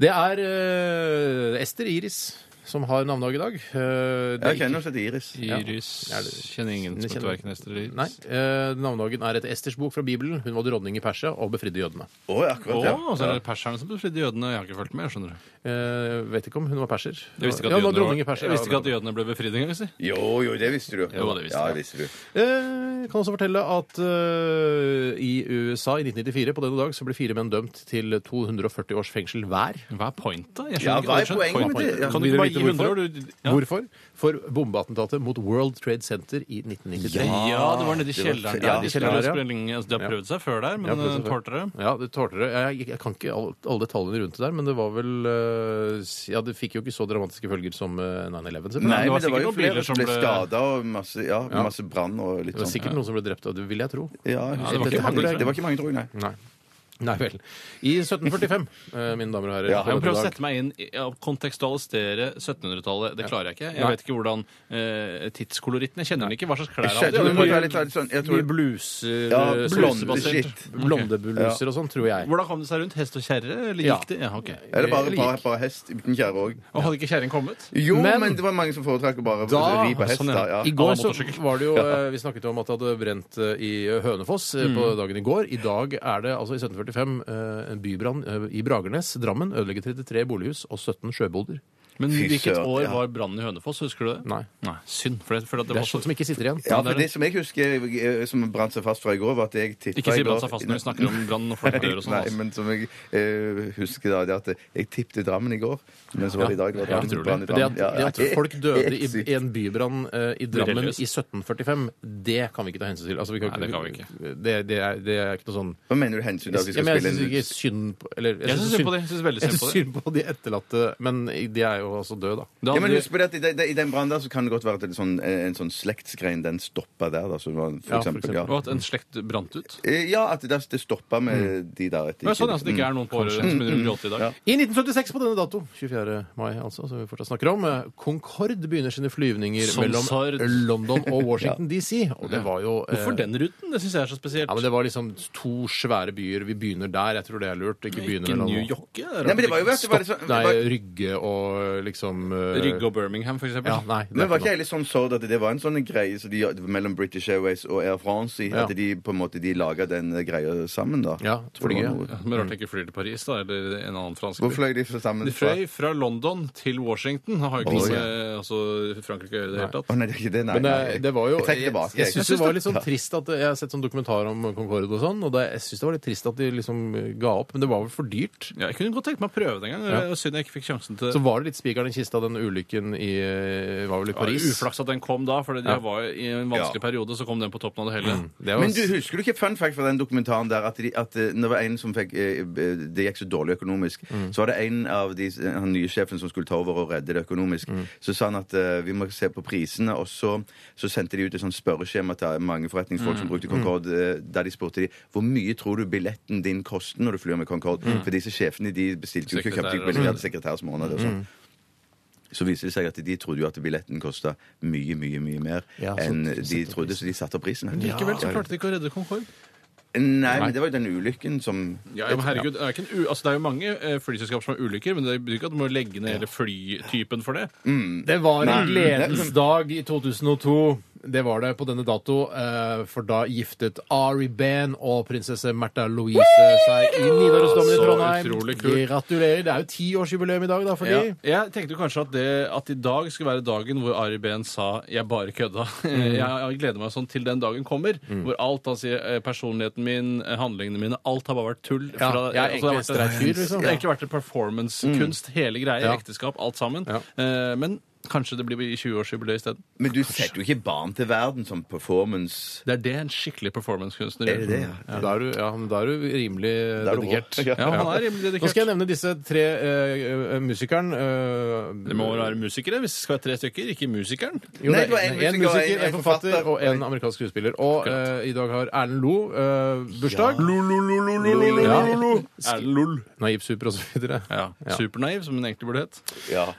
Det er eh, Ester Iris som har navnedag i dag. Eh, det er Jeg kjenner henne som heter Iris. fins. Iris Ja, det- Kjenner ingen som heter Kjenner- verken Ester eller Iris. Nei, eh, Navnedagen er etter Esters bok fra Bibelen. Hun var dronning i Persia og befridde jødene. Å, akkurat, Å, ja. så er det perserne som befridde jødene. Jeg har ikke fulgt med, jeg skjønner du. Eh, vet ikke om hun var perser. Jeg visste ja, ikke at hun var jødene, dronning i var, Persia. jeg visste ikke at Ja, jødene ble befridd engang. si. Jo, jo, det visste du. Jo, det visste ja, jeg. det visste du. Eh, kan også fortelle at eh, i USA i 1994 på denne dag så ble fire menn dømt til 240 års fengsel hver. Hva er pointet? Jeg skjønner Ja, ikke- hva er jeg skjønner- poenget med det? Ja. Kan du ikke bare gi Vil dere vite 100 år, du? Ja. Hvorfor? For bombeattentatet mot World Trade Center i 1993. Ja, Ah, det var nede i kjelleren der. ja, de, i skulle kjelleren, ha ja. sprelling- altså, de har prøvd seg før der, men eh, prøvd ja, seg før. tålte det. Ja, det tålte det. Jeg, jeg kan ikke all- alle detaljene rundt det der, men det var vel eh, s- Ja, det fikk jo ikke så dramatiske følger som eh, 9-11. selvfølgelig. Nei, det var men det var sikkert jo noen biler flere som som ble ble- skada, og masse, ja, masse brann og Det litt var sånn. sikkert noen som ble drept av det, vil jeg tro. Ja, jeg det var husker- ikke mange, tror jeg. det var ikke mange, tror jeg. Nei. Nei. Nei vel. I 1745, eh, mine damer og herrer. Ja, på Jeg må denne prøve å dag- sette meg inn i- og kontekstualisere 1700-tallet. Det klarer jeg ikke. Jeg Nei. vet ikke hvordan eh, tidskoloritten Jeg kjenner ikke hva slags klær Jeg han tror hadde. det var litt sånn jeg tror, Mye bluser, Ja, eh, blonde bluse- shit. blondebluser og sånn, tror jeg. Hvordan kom det seg rundt? Hest og kjerre? Eller Ja. gikk det? Ja, ok. Eller bare, Eller bare, gikk. bare hest uten kjære òg. Og hadde ikke kjerren kommet? Jo, Men- men, det var mange som foretrakk å bare Da- ri på hest. sånn, da, ja. ja. I går Alle så motorsykkel. var det jo, eh, Vi snakket om at det hadde brent eh, i Hønefoss eh, på Mm. dagen i går. I dag er det altså i 1745 eh, en bybrann eh, i Bragernes, Drammen. Ødelegger 33 bolighus og 17 sjøboder. Men Fy hvilket søren, år ja. var brannen i Hønefoss? Husker du det? Nei. Synd. For jeg føler at Det det, var er sånt så som ikke sitter igjen. Ja, for Det som jeg husker eh, som brant seg fast fra i går, var at jeg tippa Ikke si brann seg fast når vi snakker om brann og folk dør og sånn. Nei, altså. men som jeg eh, husker da, det at jeg tippte Drammen i går, men så var det i dag. det var Ja, Drammen, utrolig. brann i Men det at, Drammen. Ja, det at helt- folk døde i, helt sykt. i en bybrann eh, i Drammen Religiøst. i 1745, det kan vi ikke ta hensyn til. Altså, vi kan, Nei, det kan vi ikke. Det, det, er, det er ikke noe sånn Hva mener du hensyn til at vi Ja, skal men jeg spille syns en ikke synd på eller, Jeg syns synd på de. Jeg synes veldig Jeg synd på syns de. synd på de etterlatte, men det er jo jo også død, da. Da Ja, men hadde- husk på det at i, de- de- I den brannen der så kan det godt være at en sånn, en sånn slektsgrein den stoppa der. Da, så det var, for Ja, for eksempel, og at en slekt brant ut. Ja. Eh, ja, at det, det stoppa med de der. etter- Det er sånn altså, det ikke er noen pårørende som begynner å gråte i dag. Ja. I 1976 på denne dato, 24. mai altså, som vi fortsatt snakker om, eh, Concorde begynner sine flyvninger Som mellom sard. London og Washington DC. Og det var jo eh, Hvorfor den ruten? Det syns jeg er så spesielt. Ja, men Det var liksom to svære byer. Vi begynner der. Jeg tror det er lurt. Ikke begynne ikke mellom New York. det er Nei, men det var rart. jo vet du, var det sånn, Nei, var, Rygge og liksom eh, Rygge og Birmingham, for eksempel. Ja, nei. det er men var ikke ikke jeg litt sånn sård at det var en sånn greie så de, mellom British Airways og Air France? i- At Ja. de på en måte de laga den greia sammen, da? Ja, tror det var flyet. noe. Men rart jeg ikke flyr til Paris, da, eller en annen fransk by. Hvor fløy de sammen? De fløy fra London til Washington. Han har jo Oi. ikke noe med altså, Frankrike å gjøre i det Å hele tatt. nei, det er ikke det. Nei, Men det, nei. det var jo Jeg trekker tilbake. jeg, jeg jeg. syns det var litt sånn trist at Jeg har sett sånn dokumentar om Concorde og sånn, og det, jeg syns det var litt trist at de liksom ga opp. Men det var vel for dyrt. Ja, jeg kunne godt tenkt meg å prøve det en gang. Ja. og Synd jeg ikke fikk sjansen til Så var det litt spikeren i kista, den ulykken i eh, Var vel i Det var Paris? Uflaks at den kom da, for det Ja. var jo i en Ja. vanskelig Mm, periode, så kom den på toppen av det hele. Det var, Men du husker du ikke fun fact fra den dokumentaren der at, de, at eh, når det var en som fikk eh, eh, Det gikk så dårlig økonomisk, Mm. så var det en av de, han nye sjefen som skulle ta over og redde det økonomisk. Mm. Så sa han at eh, vi må se på prisene, og så, så sendte de ut et sånt spørreskjema til mange forretningsfolk Mm. som brukte Concorde, eh, der de spurte de hvor mye tror du billetten din koster når du flyr med Concorde? Mm. For disse sjefene de bestilte jo ikke Sekretærer kjøpte og billetter, sånn. de hadde sekretærsmåneder Mm. og sånn. Så viser det seg at de trodde jo at billetten kosta mye, mye mye mer Ja, så enn de de trodde, så de satte opp prisen. Likevel så klarte de ikke å redde Concorde. Nei, men det var jo den ulykken som Ja, men herregud, det er, ikke en u altså, det er jo mange eh, flyselskap som har ulykker, men det betyr ikke at du må legge ned hele flytypen for det. Det var en gledens dag i 2002. Det var det på denne dato, eh, for da giftet Ari Behn og prinsesse Märtha Louise seg i Nidarosdomen i Så Trondheim. utrolig kult. Gratulerer. Det er jo tiårsjubileum i dag, da, for Ja. de. Jeg tenkte kanskje at, det, at i dag skulle være dagen hvor Ari Behn sa 'jeg bare kødda'. Mm. Jeg, jeg gleder meg sånn til den dagen kommer, hvor alt han sier, eh, personligheten min, eh, handlingene mine, alt har bare vært tull. Ja, jeg er altså, det egentlig har vært en- streit fyr, liksom. Det har egentlig vært en performancekunst, hele greia, Ja. ekteskap, alt sammen. Ja. Eh, men kanskje det blir i 20-årsjubileet isteden. Men du setter jo ikke barn til verden som performance. Det er det en skikkelig performancekunstner Er det det, ja? Da er du, ja, men da er du rimelig Da er du dedikert. rå. Ja. Ja, han er rimelig Nå skal jeg dedikert. nevne disse tre eh, eh, musikeren eh, Det må vel være musikere hvis det skal være tre stykker, ikke musikeren. Jo, Nei, det det var er en en, en musiker, musiker, en en forfatter forfatter. og en amerikansk skuespiller. Og Akkurat. eh, i dag har Erlend Lo eh, bursdag. Ja. Erlend Lull. Naiv super og så videre. Ja. Supernaiv, som hun egentlig burde hett. Ja.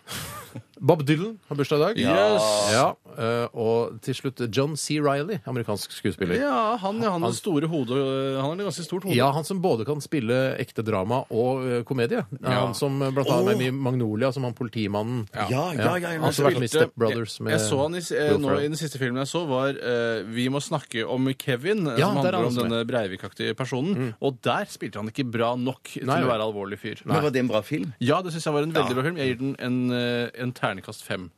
Bob Dylan har bursdag i dag. Yes. Ja, eh, og til slutt John C. Riley, amerikansk skuespiller. Ja, han, ja, han, har store hodet, eh, han har et ganske stort hode. Ja, Han som både kan spille ekte drama og eh, komedie. Ja. Han som eh, blant annet er med i Magnolia, som han politimannen. Ja, ja, ja. ja, Han som har vært med i Spilte- Step Brothers. Med jeg, jeg så han i, s- eh, Will nå, Ferrell. I den siste filmen jeg så, var eh, Vi må snakke om Kevin, eh, Ja, som der er handler han om også denne Breivik-aktige personen. Og der spilte han ikke bra nok til Nei, å vel. være alvorlig fyr. Men var det en bra film? Ja, det syns jeg var en veldig bra film. Jeg gir den en, eh, en ternekast fem.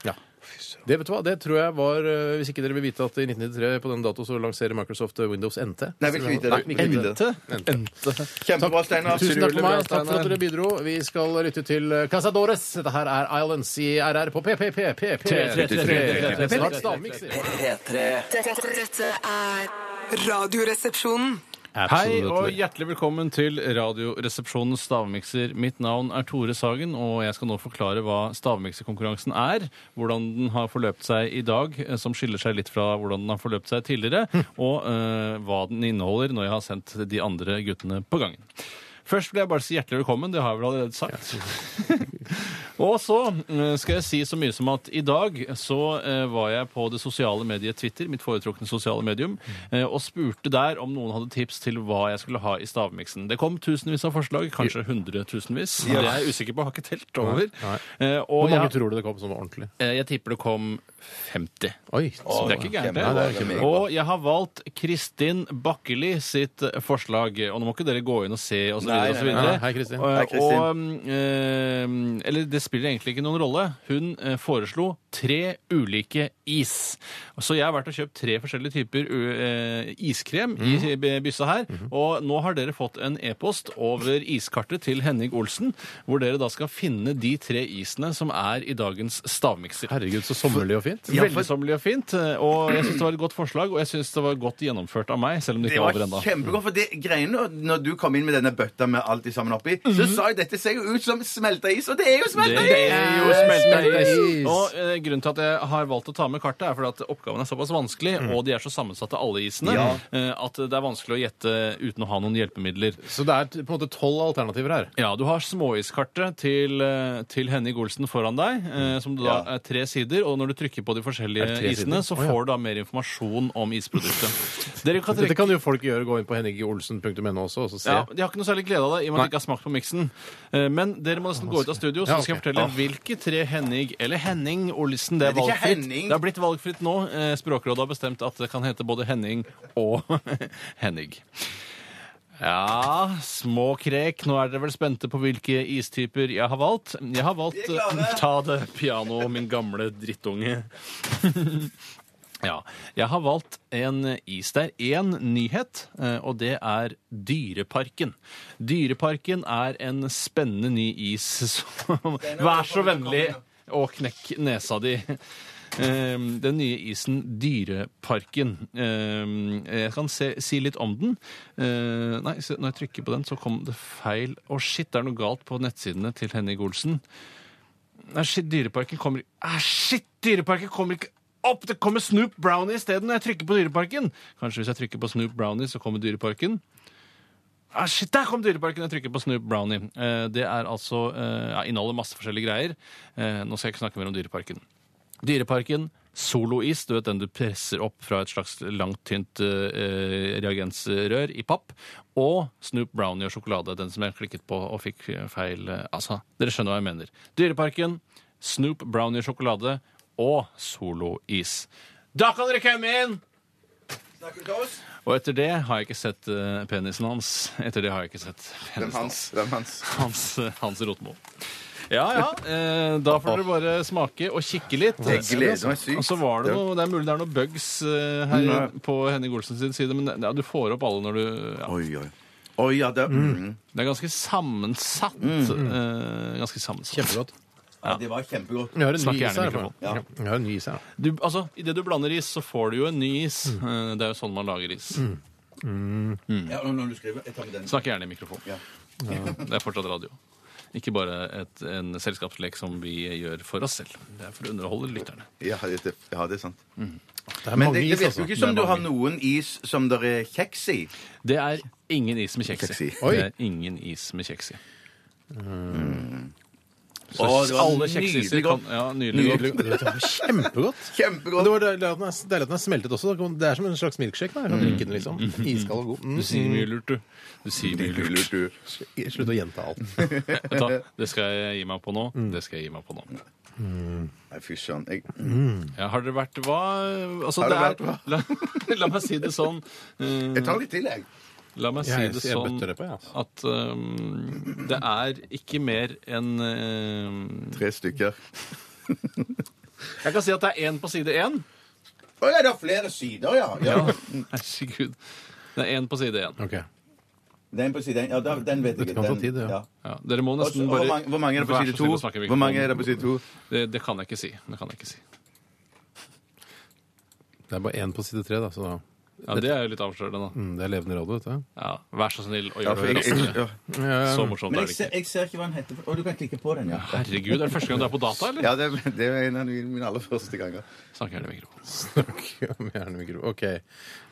Det vet du hva, det tror jeg var eh, Hvis ikke dere vil vite at i 1993 på den dato så lanserer Microsoft eh, Windows NT. Nei, vil ikke vite det. Vil ikke vite det. Endte. Endte. Kjempebra, Steinar. Tusen takk for meg. Steinar. Takk for at dere bidro. Vi skal lytte til eh, Casadores. Dette her er Islands i RR på PPP. Snart stavmikser. P3 Dette, dette er Radioresepsjonen. Hei og hjertelig velkommen til Radioresepsjonens stavmikser. Mitt navn er Tore Sagen, og jeg skal nå forklare hva stavmikserkonkurransen er. Hvordan den har forløpt seg i dag, eh, som skiller seg litt fra hvordan den har forløpt seg tidligere. Og eh, hva den inneholder når jeg har sendt de andre guttene på gangen. Først vil jeg bare si hjertelig velkommen. Det har jeg vel allerede sagt. Og så eh, skal jeg si så mye som at i dag så eh, var jeg på det sosiale mediet Twitter, mitt foretrukne sosiale medium, eh, og spurte der om noen hadde tips til hva jeg skulle ha i stavmiksen. Det kom tusenvis av forslag, kanskje hundretusenvis. Det er jeg usikker på, har ikke telt over. Nei, Eh, Hvor Og mange jeg, tror du det kom som var ordentlig? eh, jeg tipper det kom 50. Oi, Så så det er ikke gærent, Kjempebra, Nei, det er det. kjempebra. Og jeg har valgt Kristin Bakkeli sitt eh, forslag. Og nå må ikke dere gå inn og se og så videre og så Nei, nei, nei. videre. Hei, Kristin. Og- Hei, Kristin. Og, mm, eh, eller det spiller egentlig ikke noen rolle. Hun eh, foreslo tre ulike is. Så jeg har vært og kjøpt tre forskjellige typer u- eh, iskrem i Mhm. b- byssa her. Og nå har dere fått en e-post over iskartet til Henning Olsen, hvor dere da skal finne de tre isene som er i dagens stavmikser. Herregud, så sommerlig og fint. Veldig sommerlig og fint. Eh, Og jeg syns det var et godt forslag, og jeg syns det var godt gjennomført av meg. selv om det Det ikke var var over enda. kjempegodt. For det greiene når du kom inn med denne bøtta med alt de sammen oppi, så sa jeg dette ser jo ut som smelta is, og det er jo smelta jo Smelta smelta is. is. Og eh, grunnen til at jeg har valgt å ta med kartet, er fordi at oppgaven er såpass vanskelig, Mm. og de er så sammensatte, alle isene, eh, at det er vanskelig å gjette uten å ha noen hjelpemidler. Så det er t- på en måte tolv alternativer her. Ja, du har småiskartet til, eh, til Henning Olsen foran deg, eh, som da er tre sider, og når du trykker på de forskjellige Er det tre isene, Mm. sider? så Å, ja. får du da mer informasjon om isproduktet. Dere kan Dette trekke kan jo folk gjøre. Gå inn på henningolsen.no også og så se. ja, De har ikke noe særlig glede av det, i og med Nei. altså. at de ikke har smakt på miksen. Eh, Men dere må nesten gå ut av studio, så Ja, skal jeg ok. fortelle hvilke tre Henning eller Henning Olsen det er Er det ikke valgfritt. Henning? Det har blitt valgfritt nå. Eh, Språkrådet har bestemt at det kan hete både Henning og Henning. Ja, små krek. Nå er dere vel spente på hvilke istyper jeg har valgt. Jeg har valgt eh, Ta det piano, min gamle drittunge. Ja. Jeg har valgt en is. Det er én nyhet, eh, og det er Dyreparken. Dyreparken er en spennende ny is som Vær så vennlig å knekke nesa di. Ehm, Den nye isen Dyreparken. Ehm, Jeg kan se, si litt om den. Eh, Nei, se, når jeg trykker på den, så kom det feil. Å, shit, det er noe galt på nettsidene til Henning Olsen. Nei, shit, Dyreparken kommer ah, Shit, Dyreparken kommer ikke opp! Det kommer Snoop Brownie isteden når jeg trykker på Dyreparken. Kanskje hvis jeg trykker på Snoop Brownie, så kommer Dyreparken. Ah, shit, der kom Dyreparken! Jeg trykker på Snoop Brownie. Eh, det er altså eh, ja, Inneholder masse forskjellige greier. Eh, nå skal jeg ikke snakke mer om Dyreparken. Dyreparken, solois, du vet den du presser opp fra et slags langt, tynt eh, reagensrør i papp, og Snoop Brownie og sjokolade, den som jeg klikket på og fikk feil eh, Altså, dere skjønner hva jeg mener. Dyreparken, Snoop Brownie og sjokolade og solois. Da kan dere komme inn! Og etter det har jeg ikke sett eh, penisen hans. Etter det har jeg ikke sett Hvem penisen hans? Hvem hans? hans, hans Rotmo. Ja, ja. Eh, da får dere bare smake og kikke litt. Jeg gleder meg sykt. Og så var det Ja. noe, Det er mulig det er noen bugs eh, her Nei. på Henning Olsens side, men det- ja, du får opp alle når du ja. Oi, oi. Oi, ja, det, mm. Det er ganske sammensatt. eh, ganske sammensatt. Kjempegodt. ja, det var kjempegodt. Vi har en Snakk ny is gjerne i her. mikrofonen. Ja. Vi har en ny is her. Du, altså, Idet du blander is, så får du jo en ny is. Eh, det er jo sånn man lager is. Ja, når du skriver, jeg tar med den. Snakk gjerne i mikrofonen. Ja. Det er fortsatt radio. Ikke bare et, en selskapslek som vi gjør for oss selv. Det er for å underholde lytterne. Ja, det, ja, det er sant. Det er Men mange det, det is, virker jo altså. ikke som du har noen is som det er kjeks i. Det er ingen is med kjeks i. Kjeks Oi. Det er ingen is med kjeks i. Så Å, det var alle kjeksiser nydelig kan godt. ja, Nydelig godt. Det var Kjempegodt. Men Kjempegodt. Det var deilig at den er- deilig at den er smeltet også. da. Det er som en slags milkshake. Da. Jeg kan drikke den liksom. Iskald og god. Mm. Du sier mye lurt, du. Du sier mye lurt. Lurt, du. Slutt å gjenta alt. Vet du hva? Det skal jeg gi meg på nå. Mm. Det skal jeg gi meg på nå. Nei, fy søren. Jeg- Ja, har dere vært hva? Altså, Har det dere er, la, la meg si det sånn. eh, Jeg tar litt til, jeg. La meg si Jeg- det jeg sånn bøtter det på, jeg, altså. at um, det er ikke mer enn um, Tre stykker. Jeg kan si at det er én på side én. Å ja, det er flere sider, ja. ja. Herregud. Det er én på side én. Ok. Den på side én. Ja, da- den vet jeg Dette ikke. kan ta Den- tid, det, ja. Ja, dere Og må så- nesten og bare Hvor, mange, hvor mange er det på Vær så side snill å snakke to? i mikrofonen. Hvor mange er det på side to? Det, det kan jeg ikke si. Det kan jeg ikke si. Det er bare én på side tre, da. Så da. Ja, det er jo litt avslørende, da. Mm, det er levende radio, vet du. Ja, vær så snill å Ja, gjøre for jeg, det jeg, raskere. ja. Så morsomt Men er jeg, det ser, ikke. jeg ser ikke hva den heter. Å, du kan klikke på den, ja. Herregud, er det første gang du er på data, eller? Ja, det, det er en av mine aller første ganger. Snakk gjerne i mikrofonen. Ok, med gjerne mikro. Ok.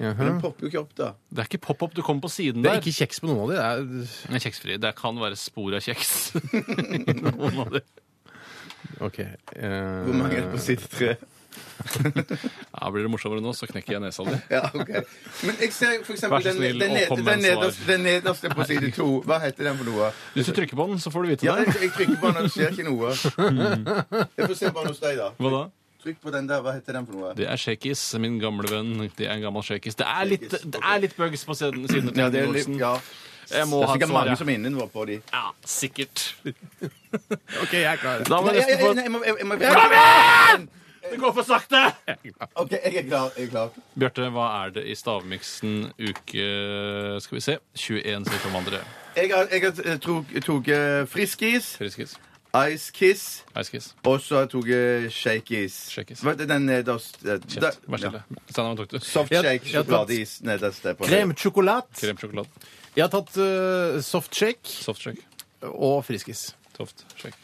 Jaha. Den popper jo ikke opp, da. Det er ikke pop-up, du kommer på siden Det er der. ikke kjeks på noen av de. Det Nei, Kjeksfri. Det kan være spor av kjeks. i noen av de. er OK. eh, Hvor mange er det på side tre? ja, blir det morsommere nå, så knekker jeg nesa di. Ja, ok. Men jeg ser for Vær eksempel så den, snill den, å ned- komme med den, en nederste, svar. den nederste på side to. Hva heter den for noe? Hvis du trykker på den, så får du vite Ja, jeg, det. jeg trykker på den, og det skjer ikke noe. Jeg får se bare hos deg, da. Hva da? Trykk på den der. Hva heter den for noe? Det er Shakis, min gamle venn. Det er en gammel Shakis. Det er litt, det er litt bugs på siden, siden til Ja, det er Henning litt, Olsen. ja. Jeg må Det er ha et sikkert mange svar, ja. som er inne på de. ja. Sikkert. OK, jeg er klar. Da må Nei, jeg jeg, nesten få jeg, nei, jeg, må- jeg, må- jeg, jeg, Det går for sakte! OK, jeg er klar. Jeg er klar. Bjarte, hva er det i stavmiksen uke Skal vi se 21 sier om andre. Jeg, har- jeg har eh, tok, tok eh, Friskis, Friskis. Ice Kiss Heiskis. og så tok jeg Shakeis. Shakeis. Hva heter den nederst? eh, da- Kjeft. Vær ja. stille. Steinar, hva tok du? Soft Jeg- shake, jeg har tatt- sjokoladeis nederst der på Krem sjokolade. Kremsjokolade. Jeg har tatt eh, soft shake Softshake. og friskis. Softshake.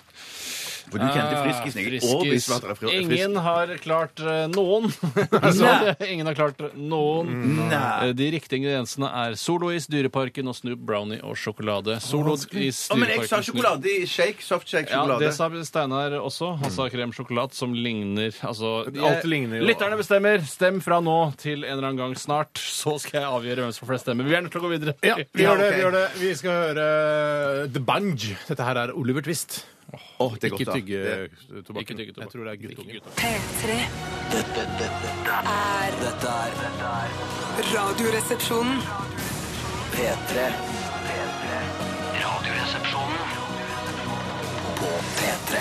For du kjente friskisen i årevis. var at det var frisk. Ingen har klart eh, noen. Altså, Ingen har klart noen. Mm. Eh, De riktige ingrediensene er Solois, Dyreparken og Snoop Brownie og sjokolade. Solois, Å, men jeg sa Dyreparken, Snoop sjokolade i shake. Soft shake ja, sjokolade. det sa Steinar også. Han sa krem sjokolade som ligner altså, Alt ligner jo. Lytterne bestemmer. Stem fra nå til en eller annen gang snart, så skal jeg avgjøre hvem som får flest stemmer. Vi er nødt til å gå videre. Ja, vi gjør det. ok. Vi gjør det. Vi skal høre eh, The Bunge. Dette her er Oliver Twist. Åh, det er godt, Ikke da. tygge Det- tobakken. Ikke tygge tobakk. Jeg tror det er guttungen. P3 Dette, dette, dette er Dette er dette er Radioresepsjonen P3. P3. Radioresepsjonen på P3.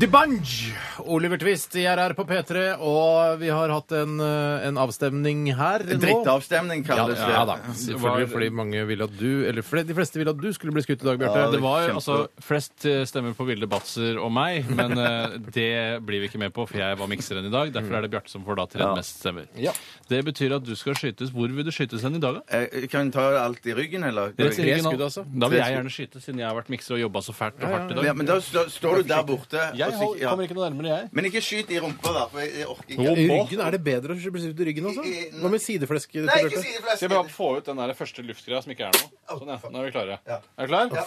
The Bunge! Oliver Twist i RR på P3, og vi har hatt en, eh, en avstemning her nå. Drittavstemning Ja, kalles det. ja da. Selvfølgelig fordi mange ville at du Eller fordi de fleste ville at du skulle bli skutt i dag, Bjarte. Ja, Det var Kjempe. altså flest eh, stemmer på Vilde Batzer og meg, men eh, det blir vi ikke med på, for jeg var mikseren i dag. Derfor er det Bjarte som får da tredje mest stemmer. Det betyr at du skal skytes. Hvor vil du skytes hen i dag, da? Eh, Kan du ta alt i ryggen, eller? Rett i ryggen, skudd, da. altså. Da vil Tre jeg gjerne skyte, siden jeg har vært mikser og jobba så fælt og hardt i Ja, dag. men da da står du der borte. og Jeg så- hold- ja. kommer ikke noe nærmere, jeg. Men ikke skyt i rumpa, da. For jeg, jeg orker ikke. Jo. I ryggen er det bedre å bli skutt i ryggen, altså? I- i- Hva med sideflesket? Nei, ikke si det, Skal jeg forresten. bare få ut den der første luftgreia som ikke er noe? Sånn, ja. Nå er vi klare. Ja. Er du klar? Ja.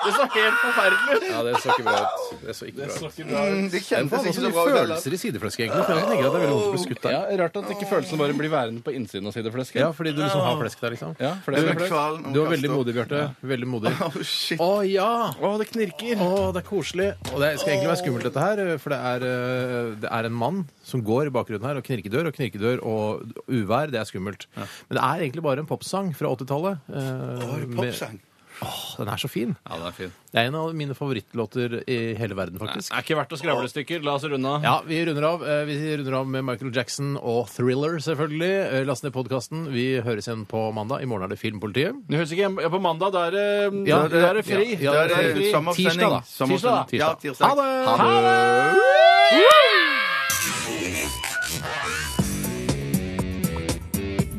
Det så helt forferdelig ut. Ja, det så ikke bra ut. Det så ikke bra ut. Mm, Det Det kjentes er ikke så så mye bra ut. heller. følelser i sideflesket, egentlig. For jeg tenker at det er veldig vondt å bli skutt der. Ja, rart at ikke følelsene bare blir værende på innsiden av sideflesket. Ja, fordi du liksom har flesk der, liksom. Ja, for Du det er er flest. kvalen og Du var veldig kaster. modig, Bjarte. Veldig modig. Å, shit. Å ja! Å, det knirker. Å, det er koselig. Og det skal egentlig være skummelt, dette her. For det er, eh, det er en mann som går i bakgrunnen her og knirkedør og knirkedør og uvær. Det er skummelt. Men det er egentlig bare en popsang fra 80-tallet. eh, Å, med- popsang. Åh, den er så fin. Ja, den er fin. Det er en av mine favorittlåter i hele verden, Det faktisk. er ikke verdt å skravle i stykker. La oss runde av. Ja, vi runder av. Eh, Vi runder av med Michael Jackson og Thriller, selvfølgelig. Eh, Last ned podkasten. Vi høres igjen på mandag. I morgen er det Filmpolitiet. Du høres ikke hjem ja, på mandag. Da er det Ja, da er det fri. ja, Det ja, er fri. eh, sommersending. Tirsdag, da. Sommersending. Tirsdag, da. Ja, tirsdag. Ha det! Ha det!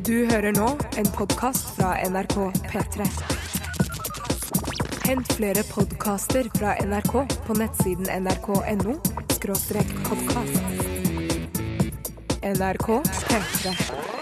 Du hører nå en podkast fra NRK P3. Hent flere podkaster fra NRK på nettsiden nrk.no podkast. NRK P3.